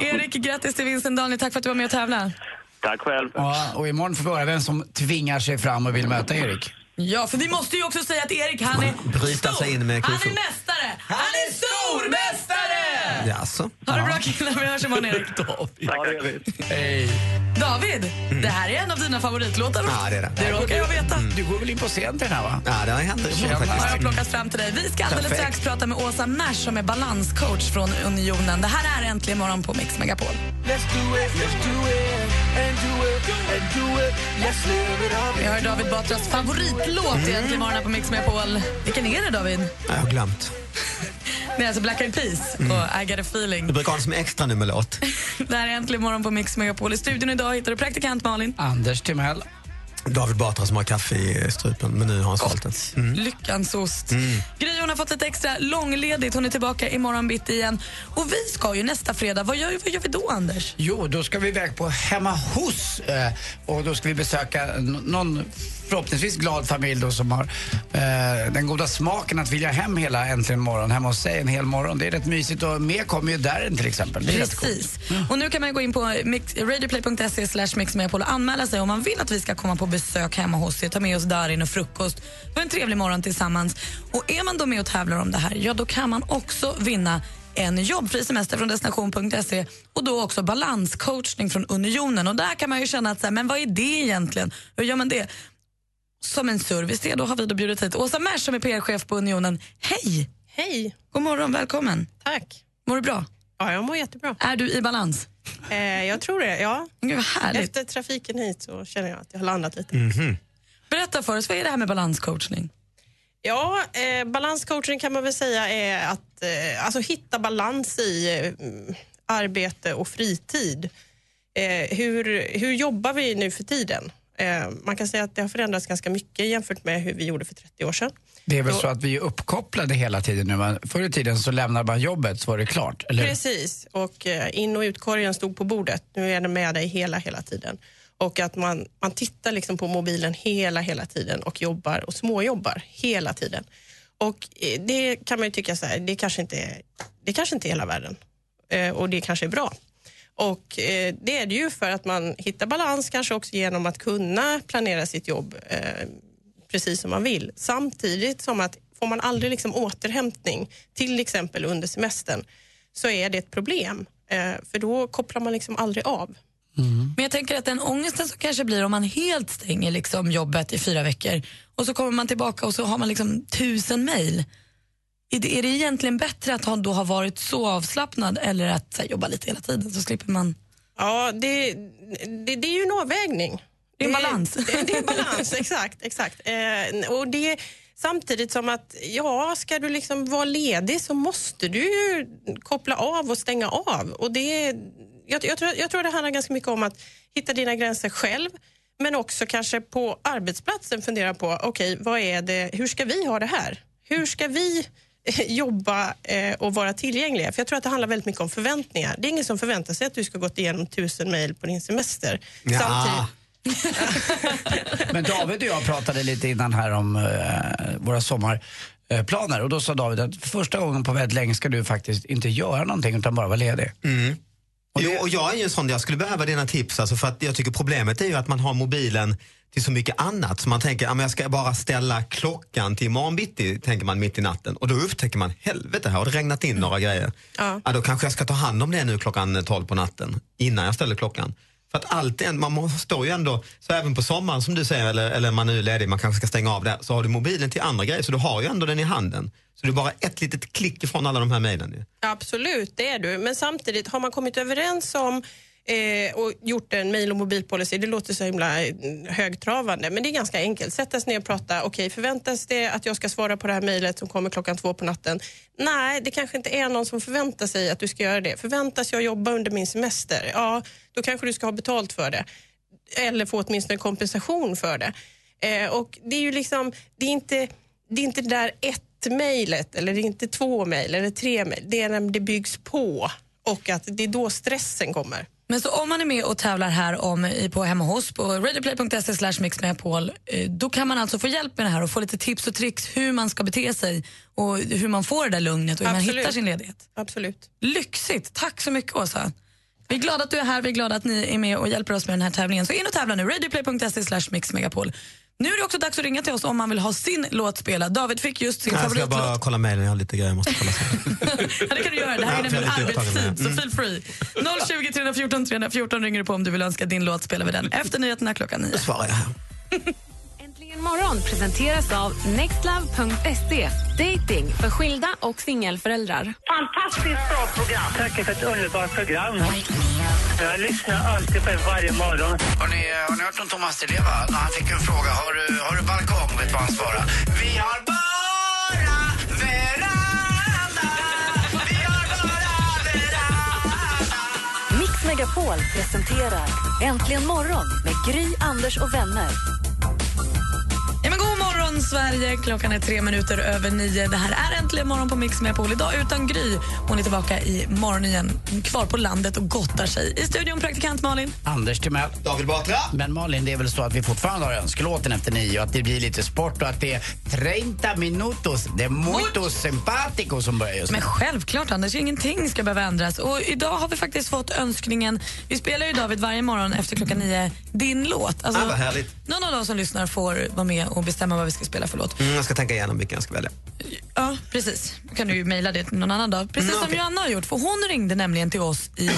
S4: Erik, grattis till vinsten. Daniel, tack för att du var med och tävlade.
S5: Tack själv. Ja, och imorgon får vi höra vem som tvingar sig fram och vill möta Erik.
S4: Ja, för vi måste ju också säga att Erik, han är
S5: Bryta sig in med
S4: Han är mästare! Han är stormästare!
S6: Jaså?
S4: Ha det bra killar, vi hörs imorgon Erik.
S5: David. Hej.
S4: David, det här är en av dina favoritlåtar.
S6: Ja, det är det.
S4: det råkar jag veta.
S5: Du går väl in på scen till den här, va?
S6: Ja, det har hänt
S4: Tjena. Har jag plockat fram till dig. Vi ska alldeles
S6: Perfekt.
S4: strax prata med Åsa Nash som är balanscoach från Unionen. Det här är Äntligen morgon på Mix Megapol.
S7: Let's do it, let's do it, and do it, and do it. Let's live it up.
S4: Vi har David Batras favoritlåt i Äntligen morgon här på Mix Megapol. Vilken är det David?
S6: Jag har glömt.
S4: Det är alltså Black Eyed Peas
S6: Mm.
S4: och I got a feeling.
S6: Du brukar ha den som extra nummerlåt.
S4: Det här är Äntligen morgon på Mix Megapol. I studion idag hittar du praktikant Malin.
S5: Anders Timell.
S6: David Batra som har kaffe i strupen, men nu har han svalt den. Mm.
S4: Lyckans ost.
S6: Mm.
S4: Gry hon har fått lite extra långledigt. Hon är tillbaka imorgon bitti igen. Och vi ska ju nästa fredag. Vad gör, vad gör vi då, Anders?
S5: Jo, då ska vi iväg på Hemma hos eh, och då ska vi besöka n- någon förhoppningsvis glad familj då som har eh, den goda smaken att vilja hem hela äntligen morgon, hemma hos sig en hel morgon. Det är rätt mysigt och med kommer ju där till exempel. Det är rätt coolt.
S4: Precis. Och nu kan man gå in på mix- radioplay.se slash mixmegapol och anmäla sig om man vill att vi ska komma på besök hemma hos er, ta med oss Darin och frukost för en trevlig morgon tillsammans. Och är man då med och tävlar om det här, ja då kan man också vinna en jobbfri semester från destination.se och då också balanscoachning från Unionen. Och där kan man ju känna att, så här, men vad är det egentligen? Hur gör man det? Som en service det, då har vi då bjudit hit Åsa Mers som är PR-chef på Unionen. Hej!
S8: Hej!
S4: God morgon, välkommen.
S8: Tack.
S4: Mår du bra?
S8: Ja, jag mår jättebra.
S4: Är du i balans?
S8: Eh, jag tror det, ja.
S4: Gud, vad härligt.
S8: Efter trafiken hit så känner jag att jag har landat lite.
S4: Berätta för oss, vad är det här med balanscoachning?
S8: Ja, eh, balanscoaching kan man väl säga är att eh, alltså hitta balans i eh, mm, arbete och fritid. Eh, hur, hur jobbar vi nu för tiden? Eh, man kan säga att det har förändrats ganska mycket jämfört med hur vi gjorde för 30 år sedan.
S5: Det är väl så att vi är uppkopplade hela tiden nu. men Förr i tiden så lämnade man jobbet så var det klart. Eller?
S8: Precis, och eh, in och utkorgen stod på bordet. Nu är den med dig hela, hela tiden. Och att man, man tittar liksom på mobilen hela, hela tiden och jobbar och småjobbar hela tiden. Och eh, det kan man ju tycka så här, det kanske inte är, det kanske inte är hela världen. Eh, Och det kanske är bra. Och eh, det är det ju för att man hittar balans kanske också genom att kunna planera sitt jobb eh, precis som man vill. Samtidigt som att får man aldrig liksom återhämtning, till exempel under semestern, så är det ett problem. Eh, för då kopplar man liksom aldrig av.
S4: Men jag tänker att den ångesten som kanske blir om man helt stänger liksom jobbet i fyra veckor och så kommer man tillbaka och så har man liksom tusen mejl. Är det, är det egentligen bättre att ha- då ha varit så avslappnad eller att så här, jobba lite hela tiden så slipper man...
S8: Ja, det, det, det är ju en avvägning.
S4: Det är balans.
S8: Det, det är balans, exakt. exakt. Eh, och det, samtidigt som att, ja, ska du liksom vara ledig så måste du ju koppla av och stänga av. Och det, jag, jag, tror, jag tror det handlar ganska mycket om att hitta dina gränser själv, men också kanske på arbetsplatsen fundera på, okej, vad är det, hur ska vi ha det här? Hur ska vi jobba eh, och vara tillgängliga. För jag tror att det handlar väldigt mycket om förväntningar. Det är ingen som förväntar sig att du ska gått igenom tusen mejl på din semester.
S5: Ja.
S8: Samtidigt,
S5: Men David och jag pratade lite innan här om eh, våra sommarplaner och då sa David att för första gången på väldigt länge ska du faktiskt inte göra någonting utan bara vara ledig.
S6: Jo, och jag är ju en sån, jag skulle behöva dina tips. Alltså, för att jag tycker problemet är ju att man har mobilen till så mycket annat. Så man tänker, "Ja, men jag ska bara ställa klockan till imorgon bitti, tänker man mitt i natten. Och då upptäcker man, helvete här har det regnat in några grejer. Ja.
S8: Ja.
S6: då kanske jag ska ta hand om det nu klockan 12 på natten, innan jag ställer klockan. För att allt, är- man må- står ju ändå, så även på sommaren som du säger, eller, eller man är nu ledig, man kanske ska stänga av det, så har du mobilen till andra grejer, så du har ju ändå den i handen. Så du är bara ett litet klick ifrån alla de här mejlen. ju.
S8: Absolut, det är du. Men samtidigt, har man kommit överens om eh, och gjort en mail och mobilpolicy, det låter så himla eh, högtravande, men det är ganska enkelt. Sätta sig ner och prata. Okej, förväntas det att jag ska svara på det här mejlet som kommer klockan två på natten? Nej, det kanske inte är någon som förväntar sig att du ska göra det. Förväntas jag jobba under min semester? Ja, då kanske du ska ha betalt för det. Eller få åtminstone kompensation för det. Eh, och det är ju liksom, det är inte det är inte det där ett mejlet eller det är inte två mejl eller tre mejl. Det är när det byggs på och att det är då stressen kommer.
S4: Men så om man är med och tävlar här om i- på hemma hos på radioplay.se slash mixmegapol eh, då kan man alltså få hjälp med det här och få lite tips och tricks hur man ska bete sig och hur man får det där lugnet och hur man
S8: Absolut.
S4: hittar sin ledighet.
S8: Absolut.
S4: Lyxigt! Tack så mycket Åsa. Vi är glada att du är här, vi är glada att ni är med och hjälper oss med den här tävlingen. Så in och tävla nu, radioplay.se slash mixmegapol. Nu är det också dags att ringa till oss om man vill ha sin låt spelad. David fick just sin
S6: Nej, jag ska
S4: favoritlåt.
S6: bara kolla mejlen, jag har lite grejer jag måste kolla.
S4: *laughs* Ja, det kan du göra. Det här är
S6: Ja,
S4: nämligen
S6: jag Mm. är lite
S4: arbetstid, så feel
S6: upptagen
S4: free. 020 314 314 ringer du på om du vill önska din låt. Spelar vi den efter nyheterna klockan nio.
S6: svarar jag.
S1: Äntligen morgon presenteras av nextlove.se. Dating för skilda och singelföräldrar.
S2: Fantastiskt bra program. Tack för ett underbart program. Jag lyssnar alltid på er varje morgon.
S5: Har ni, eh, har ni hört om Thomas Di Leva? När Han fick en fråga. Har du, har du balkong? Vet du vad han svarade? Vi har bara veranda. Vi har bara
S1: Mix Megapol presenterar Äntligen morgon med Gry, Anders och vänner.
S4: Ja, men god morgon, Sverige! Klockan är tre minuter över nio. Det här är Äntligen morgon på Mix Megapol. Idag utan Gry. Hon är tillbaka i morgon igen, kvar på landet och gottar sig. I studion praktikant Malin.
S5: Anders Timell.
S6: David Batra.
S5: Men Malin, det är väl så att vi fortfarande har önskelåten efter nio och att det blir lite sport och att det är 30 minutos de muito simpático som börjar just nu.
S4: Men självklart, Anders. Ingenting ska behöva ändras. Och idag har vi faktiskt fått önskningen... Vi spelar ju David varje morgon efter klockan nio, din låt. Alltså,
S6: Ah, vad härligt.
S4: Någon av de som lyssnar får vara med och bestämma vad vi ska spela för låt.
S6: Mm, jag ska tänka igenom vilken jag ska välja.
S4: Ja, precis. Då kan du ju mejla det till någon annan dag. Precis
S6: Mm,
S4: som
S6: okej.
S4: Joanna har gjort, för hon ringde nämligen till oss i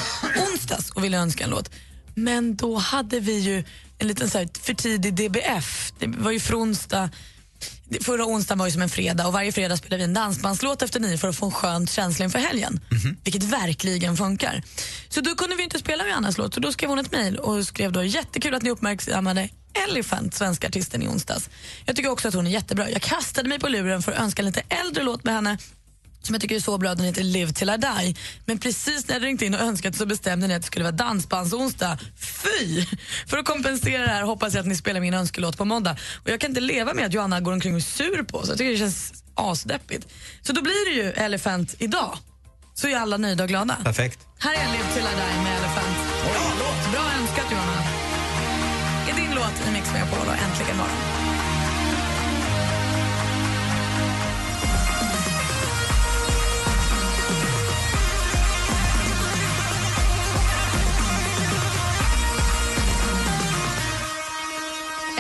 S4: onsdags och ville önska en låt. Men då hade vi ju en liten så här för tidig DBF. Det var ju för onsdag. det- Förra onsdagen var ju som en fredag och varje fredag spelar vi en dansbandslåt efter nio för att få en skön känsla inför helgen. Vilket verkligen funkar. Så då kunde vi inte spela Johannas låt så då skrev hon ett mejl och skrev då jättekul att ni uppmärksammade Elephant, svenska artisten i onsdags. Jag tycker också att hon är jättebra. Jag kastade mig på luren för att önska en lite äldre låt med henne som jag tycker är så bra, den heter Live till I die. Men precis när jag ringt in och önskat så bestämde ni att det skulle vara dansbandsonsdag. Fy! För att kompensera det här hoppas jag att ni spelar min önskelåt på måndag. Och jag kan inte leva med att Johanna går omkring och är sur på oss. Jag tycker det känns asdeppigt. Så då blir det ju Elephant idag. Så är alla nöjda och glada.
S6: Perfekt.
S4: Här är Live till I die med Elephant. Bra låt! Bra önskat Johanna. Det är din låt i Mix Megapol och äntligen morgon.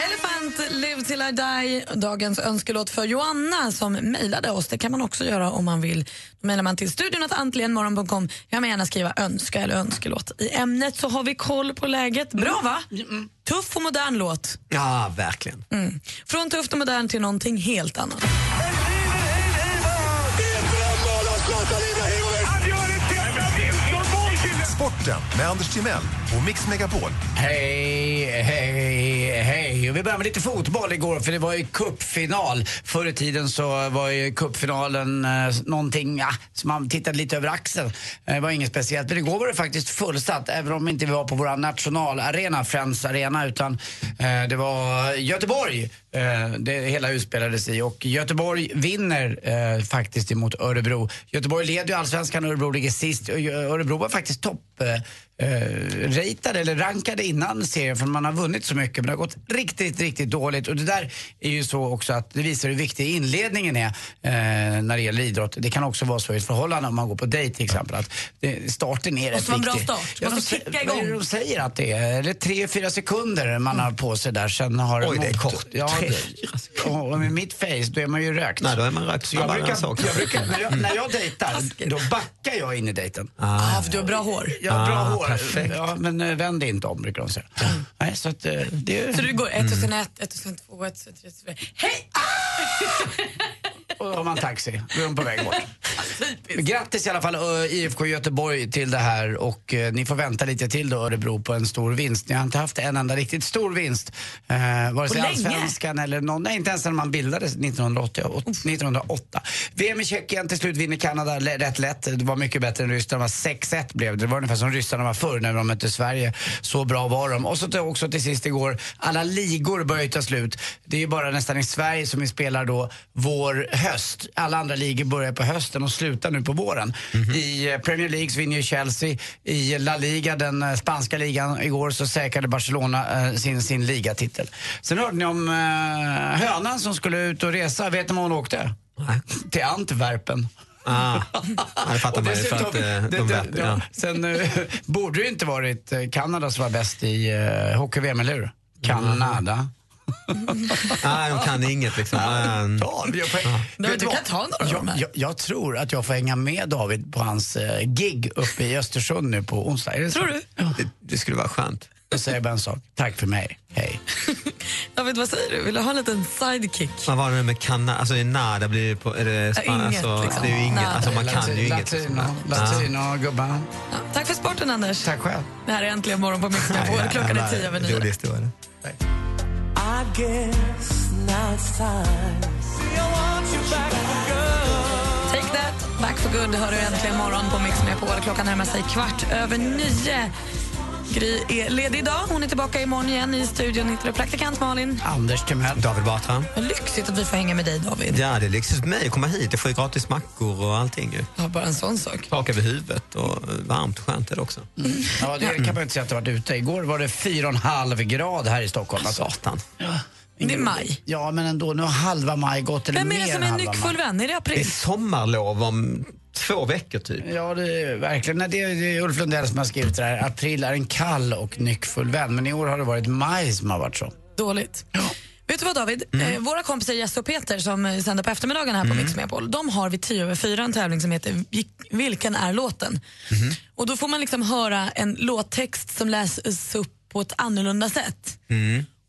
S4: Elephant, Live till I die, dagens önskelåt för Joanna som mejlade oss. Det kan man också göra om man vill. Då mejlar man till studion att antligenmorgon.com. Jag vill gärna skriva önska eller önskelåt. I ämnet så har vi koll på läget. Bra
S5: Mm.
S4: va? Tuff och modern låt.
S6: Ja, verkligen.
S4: Mm. Från tufft och modern till någonting helt annat.
S10: Sporten med Anders Timell och Mix Megapol.
S5: Hej, hej, hej. Och Vi börjar med lite fotboll igår för det var ju cupfinal. Förr i tiden så var ju cupfinalen eh, någonting ja, som man tittade lite över axeln. Eh, Det var inget speciellt. Men igår var det faktiskt fullsatt även om inte vi var på vår nationalarena, Friends Arena, utan eh, det var Göteborg eh, det hela utspelades i. Och Göteborg vinner eh, faktiskt emot Örebro. Göteborg leder ju allsvenskan och Örebro ligger sist. Och Gö- Örebro var faktiskt topp eh, eh, ratade eller rankade innan serien för man har vunnit så mycket men det har gått riktigt, riktigt dåligt. Och det där är ju så också att det visar hur viktig inledningen är eh, när det gäller idrott. Det kan också vara så i ett förhållande om man går på dejt till exempel att det, starten är rätt
S4: Måste vara en bra
S5: viktig.
S4: start.
S5: Ja, de
S4: Måste
S5: sä-
S4: kicka
S5: vad är det
S4: igång.
S5: De säger att det är eller tre, fyra sekunder man har på sig där. Sen har
S6: Oj, det är
S5: mot-
S6: kort.
S5: Ja,
S6: Tre,
S5: det- och och med mitt face, då är man ju rökt.
S6: Nej, då är man rökt
S5: Så jag
S6: snabbare än
S5: brukar,
S6: så. *laughs*
S5: jag brukar, när, jag, när jag dejtar, då backar jag in i dejten.
S4: Ah, för du har bra hår.
S5: Ja, bra hår.
S6: perfekt.
S5: Ja, men eh, vänd dig inte om, brukar de säga. Nej, så att, eh, det...
S4: Så du går 1001, 1002, 1003, 1004. Hej! Ah!
S5: Och då har man taxi, då är de på
S14: *laughs*
S5: väg bort. Grattis i alla fall ö, IFK Göteborg till det här och eh, ni får vänta lite till då Örebro på en stor vinst. Ni har inte haft en enda riktigt stor vinst. Eh, vare sig
S14: På länge.
S5: allsvenskan eller någon, nej inte ens när man bildades 1908. åt- 1908. VM i Tjeckien, till slut vinner Kanada l- rätt lätt. Det var mycket bättre än Ryssland, det var 6-1 blev det. Det var ungefär som ryssarna var förr när de mötte Sverige. Så bra var de. Och så till- också till sist igår, alla ligor börjar ju ta slut. Det är ju bara nästan i Sverige som vi spelar då vår höst. Alla andra ligor börjar på hösten och slutar nu på våren.
S6: Mhm.
S5: I eh, Premier League så vinner ju Chelsea. I La Liga, den eh, spanska ligan, igår så säkrade Barcelona eh, sin, sin ligatitel. Sen hörde ni om eh, hönan som skulle ut och resa. Vet ni var hon åkte? Till Antwerpen.
S6: Ah, det fattar
S5: Och
S6: man ju för att
S5: dessutom-
S6: eh, de
S5: det- det-
S6: vet. Ja.
S5: Sen eh, borde det ju inte varit eh, Kanada som var bäst i eh, hockey-VM, eller
S6: Mm.
S5: hur? Kanada.
S6: Nej, de kan inget liksom. Men...
S5: Ja, vi har poäng.
S6: Du
S5: Vet
S6: kan
S5: vad?
S6: ta några av
S5: jag,
S6: dem här.
S5: jag, jag tror att jag får hänga med David på hans eh, gig uppe i Östersund nu på onsdag. Är det tror du?
S6: Det, det skulle vara skönt.
S5: Jag säger bara en sak. Tack för mig. Hej.
S4: David, vad säger du? Vill du ha en liten sidekick?
S6: Vad var det med kanna? Alltså i nada blir det på... Är det
S4: Ja,
S6: span,
S4: inget,
S6: alltså,
S4: liksom.
S6: Det är ju inget.
S4: Nada.
S6: Alltså man kan ju
S5: Latin-
S6: inget. liksom.
S5: Latino, latino gubbarna.
S4: Tack för sporten, Anders.
S5: Tack själv.
S4: Det här är Äntligen morgon på Mix Megapol. Klockan är tio över nio.
S6: Rolig historia.
S15: I guess now it's time.
S4: Take that, back for good hör du äntligen morgon på Mix Megapol. Klockan närmar sig kvart över nio. Gry är ledig idag. Hon är tillbaka imorgon igen. I studion hittar du praktikant Malin.
S5: Anders Timell.
S6: David Batra.
S4: Vad lyxigt att vi får hänga med dig, David.
S6: Ja, det är lyxigt för mig att komma hit. Jag får ju gratis mackor och allting ju.
S4: Ja, bara en sån sak.
S6: Tak över huvudet och eh, varmt och skönt är det också.
S5: Ja, det kan man inte säga att det varit ute. Igår var det 4,5 grad här i Stockholm. Alltså.
S6: Satan.
S4: Det är maj.
S5: Ja, men ändå. Nu har halva maj gått. Eller
S4: Vem är
S5: mer
S4: det
S5: än
S4: som är
S5: halva
S4: nyckfull
S5: maj.
S4: vän? Är det
S6: Det är
S4: april?
S6: sommarlov om två veckor typ.
S5: Ja, det är verkligen. Nej, det är, det är Ulf Lundell som har skrivit det här. April är en kall och nyckfull vän. Men i år har det varit maj som har varit så.
S4: Dåligt. Vet du vad David? Eh, våra kompisar Jesse och Peter som eh, sänder på eftermiddagen här på Mix Megapol, de har vid 10 över 4 en tävling som heter Vil- Vilken är låten? Och då får man liksom höra en låttext som läses upp på ett annorlunda sätt.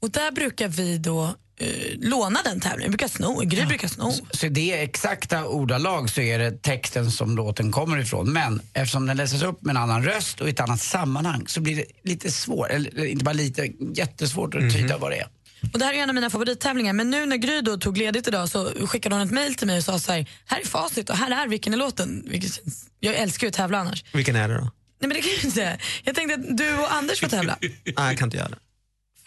S4: Och där brukar vi då eh, låna den tävlingen, vi brukar sno, Gry brukar sno.
S5: Så i det är exakta ordalag så är det texten som låten kommer ifrån. Men eftersom den läses upp med en annan röst och i ett annat sammanhang så blir det lite svårt, eller inte bara lite, jättesvårt att
S6: Mhm.
S5: tyda vad det är.
S4: Och det här är en av mina favorittävlingar, men nu när Gry då tog ledigt idag så skickade hon ett mejl till mig och sa så här, här är facit och här är vilken är låten. Vilket känns, jag älskar ju att tävla annars.
S6: Vilken är det då?
S4: Nej men det kan jag inte. Jag tänkte att du och Anders får
S6: *laughs*
S4: tävla.
S6: Nej, jag kan inte göra det.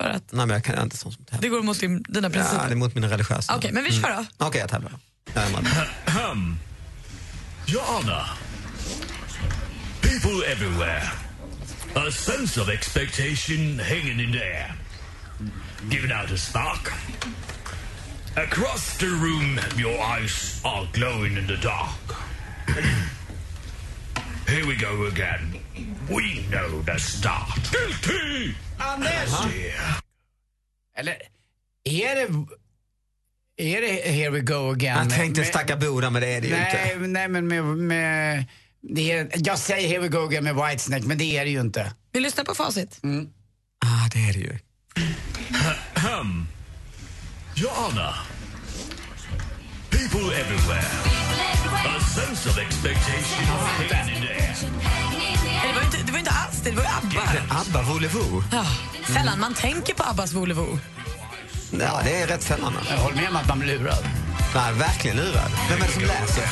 S4: För att?
S6: Nej, men jag, kan, jag är inte sån som tävlar.
S4: Det går mot din, dina principer.
S6: Ja, Mm. det är mot mina religiösa.
S4: Okej, men vi kör då.
S6: Okej, jag tävlar då. Jag är med.
S16: Ahem. Yana. People everywhere. A sense of expectation hanging in the air. Giving out a spark. Across the room, your eyes are glowing in the dark. *clears throat* Here we go again. We know the start. Guilty!
S5: Anders! Eller är det... Är det Here we go again?
S6: Jag tänkte
S5: Med-
S6: stacka Boda, men det är det ju
S5: nej,
S6: inte.
S5: nej, men med... med det är, jag säger Here we go again med Whitesnake, men det är det ju inte.
S4: Vi lyssnar på facit.
S10: Mm.
S6: Ah, det är det ju.
S16: Ahem. Your Honor, people everywhere, a sense of expectation hanging in the air.
S4: Nej, Det var, ju inte, det var ju inte alls det, det var ju ABBA.
S6: ABBA, Volevo.
S4: Ah, sällan man tänker på ABBAs Volevo.
S6: Ja, det är rätt sällan. Jag
S5: håller med om att man blir lurad.
S6: Nej, verkligen lurad. Vem är det som läser?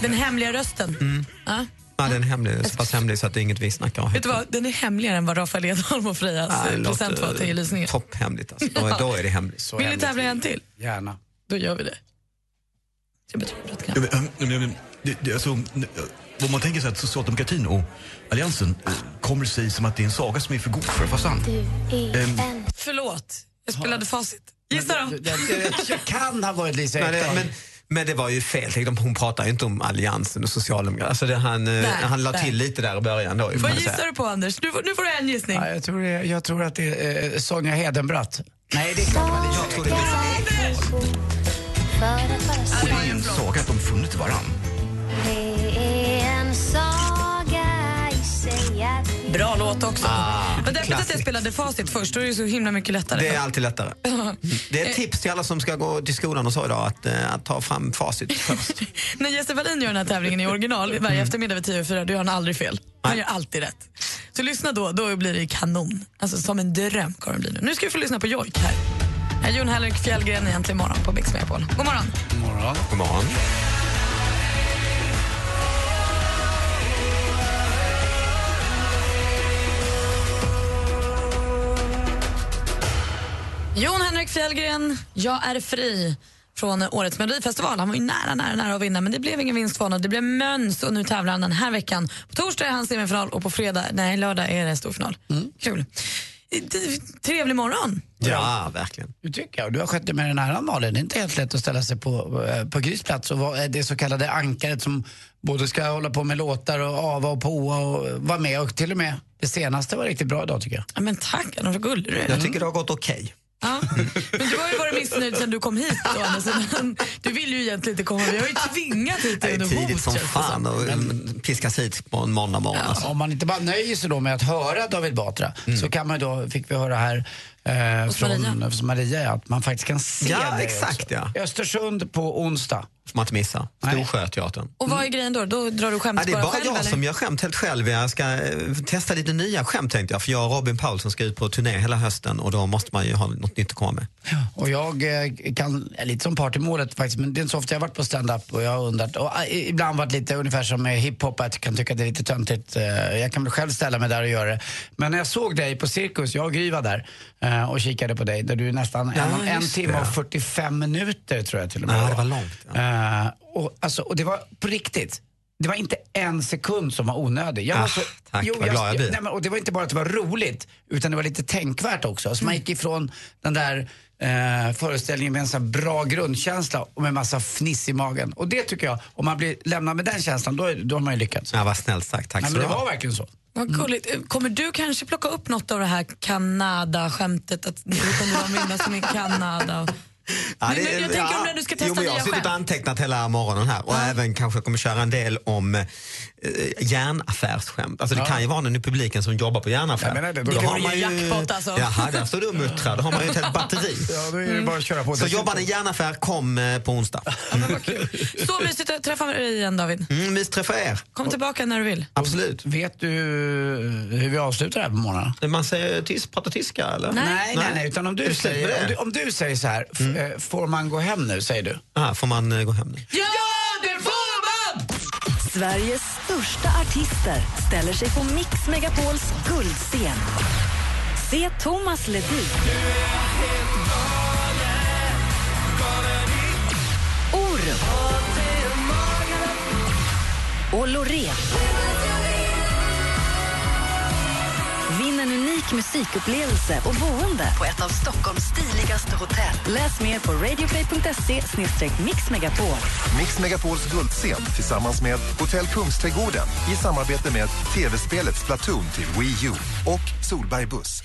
S4: Den hemliga rösten.
S6: Mm.
S4: Ja.
S6: Ja, den är hemlig, så pass hemlig så att det är inget vi snackar om.
S4: Vet du vad, den är hemligare än vad Rafael Edholm och Frejas
S6: Ja, det
S4: eh,
S6: låter
S4: present var till lysningen.
S6: Topphemligt alltså. Då,
S4: Ja.
S6: då är det hemligt. Så
S4: Vill ni
S6: hemligt.
S4: tävla en till?
S5: Gärna.
S4: Då gör vi det.
S16: Ja, men, ähm, nej, men, det- det- alltså, n- äh, Om man tänker sig att socialdemokratin och alliansen äh, kommer sig som att det är en saga som är för god för att vara sann. Ehm,
S4: Förlåt, jag spelade facit. Gissa då.
S5: Jag kan ha varit Lisa
S6: Nej, det,
S5: Ekdahl.
S6: men, men det var ju fel. Tänk om Hon pratar ju inte om Alliansen och Socialdemokraterna. Alltså det, han, eh,
S4: Nej,
S6: han la
S4: nej.
S6: till lite där i början. Då, ju, får
S4: Vad
S6: man säga.
S4: gissar du på Anders? Nu får, nu får du en gissning.
S5: Ja, jag, tror det, jag tror att det är eh, Sonja Hedenbratt. Nej, det är klart det var Lisa Ekdahl.
S16: Och det är en saga att de funnit varann.
S11: Det är en saga i sig
S4: Bra låt också.
S6: Ah,
S4: Men därför att jag
S6: klassiskt.
S4: spelade Facit först, då är det så himla mycket lättare.
S6: Det är alltid lättare. Det är ett tips till alla som ska gå till skolan och så idag att, eh, att ta fram
S4: *laughs*
S6: facit först.
S4: När Jesse Wallin gör den här tävlingen i original varje eftermiddag vid 10 och 4, då gör han aldrig fel. Han gör alltid rätt. Så lyssna då, då blir det kanon. Alltså som en dröm kommer det bli nu. Nu ska vi få lyssna på Jojk här. Här är Jon Henrik Fjällgren egentligen imorgon på Mix Megapol. God morgon!
S5: God morgon.
S6: God morgon.
S4: Jon Henrik Fjällgren, jag är fri från årets melodifestival. Han var ju nära, nära, nära att vinna men det blev ingen vinst för honom. Det blev möns och nu tävlar han den här veckan. På torsdag är hans semifinal och på fredag, nej lördag är det storfinal. Kul. Det- Trevlig morgon.
S6: Ja, verkligen.
S5: Det tycker jag. Du har skött dig med den här Malin. Det är inte helt lätt att ställa sig på, eh, på Grys plats och vara eh, det så kallade ankaret som både ska hålla på med låtar och ava och påa och eh, vara med. Och till och med det senaste var riktigt bra idag tycker jag.
S4: Ja, men tack, vad gullig du är.
S6: Jag tycker det har gått okej.
S4: Ja. Men du har ju varit missnöjd sen du kom hit. Då, Anders. Du ville ju egentligen inte komma. Vi har ju tvingat hit
S6: Det
S4: dig
S6: är
S4: under hot.
S6: tidigt som
S4: känns det som.
S6: fan och mm, piskas hit på en måndag morgon. Alltså. Mm.
S5: Om man inte bara nöjer sig då med att höra David Batra så kan man ju då, fick vi höra här eh,
S6: Hos
S5: från
S6: Maria.
S5: Maria. Maria, att man faktiskt kan se
S6: Ja,
S5: dig
S6: exakt,
S5: också.
S6: ja.
S5: Östersund på onsdag.
S6: Får man inte missa. Storsjöteatern.
S4: Och vad är grejen då? Då drar du skämt
S6: Ja, det är bara
S4: själv?
S6: jag
S4: eller?
S6: som gör skämt helt själv. Jag ska eh, testa lite nya skämt tänkte jag. För jag och Robin Paulsson ska ut på turné hela hösten och då måste man ju ha något nytt att komma med.
S5: Och jag eh, kan, är lite som part i målet faktiskt, men det är inte så ofta jag har varit på stand-up och jag har undrat. Och eh, ibland varit lite ungefär som med hiphop, att jag kan tycka att det är lite töntigt. eh, Jag kan väl själv ställa mig där och göra det. Men när jag såg dig på Cirkus, jag och Gry var där eh, och kikade på dig, där du nästan
S6: Ja,
S5: en, en
S6: just
S5: timme
S6: det.
S5: och 45 minuter tror jag till och med
S6: Ja, det var långt.
S5: Eh, och, alltså, och det var på riktigt. Det var inte en sekund som var onödig. Jag var
S6: Ah,
S5: så,
S6: tack, vad glad jag blir.
S5: nej, men, och det var inte bara att det var roligt, utan det var lite tänkvärt också. Så man gick ifrån den där eh, föreställningen med en sån här bra grundkänsla och med en massa fniss i magen. Och det tycker jag, om man blir lämnad med den känslan, då, är- då har man ju lyckats.
S6: Ja, vad snällt sagt. Tack
S5: nej,
S6: ska
S5: men
S6: du
S5: det
S6: ha.
S5: var verkligen så.
S4: Vad gulligt. Kommer du kanske plocka upp något av det här Kanada-skämtet? Att du kommer vara med som i Kanada? och-
S6: Ja,
S4: men jag tänker om när du ska testa
S6: jo, men Jag har
S4: nya
S6: suttit och
S4: skämt.
S6: antecknat hela morgonen här och även kanske kommer köra en del om eh, järnaffärsskämt. Alltså det
S5: Ja.
S6: kan ju vara någon i publiken som jobbar på järnaffär.
S5: Jag menar det,
S6: Då
S5: det
S6: har
S5: vore
S6: man
S5: ju jackpot, alltså.
S6: Jaha, där står du och muttrar. Då har man ju ett helt batteri.
S5: *laughs* Ja, då är det bara att köra på.
S6: Så
S5: Dessutom-
S6: jobbar i järnaffär, kom eh, på onsdag.
S4: Så mysigt att träffa dig igen, David.
S6: Mm, misträffa er.
S4: Kom tillbaka när du vill.
S6: Absolut.
S5: Vet du eh, hur vi avslutar här på morgonen?
S6: Man säger tyst, pratar tyska eller?
S5: Nej, nej, nej, utan om du,
S6: säger
S5: säger, om
S6: det.
S5: du, om du säger så här, f- eh, får man gå hem nu, säger du?
S6: Ah, får man eh, gå hem nu?
S4: Ja, det får man!
S1: Sveriges största artister ställer sig på Mix Megapols guldscen. Se Thomas Ledin. Orup. Och Loreen. Vinn en unik musikupplevelse och boende på ett av Stockholms stiligaste hotell. Läs mer på radioplay.se mixmegapol.
S10: Mix Megapols guldscen tillsammans med Hotell Kungsträdgården i samarbete med tv-spelet Splatoon till Wii U och Solberg Buss.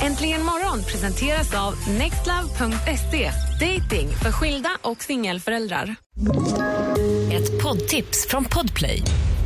S17: Äntligen morgon presenteras av nextlove.se. Dating för skilda och singelföräldrar.
S1: Ett poddtips från Podplay.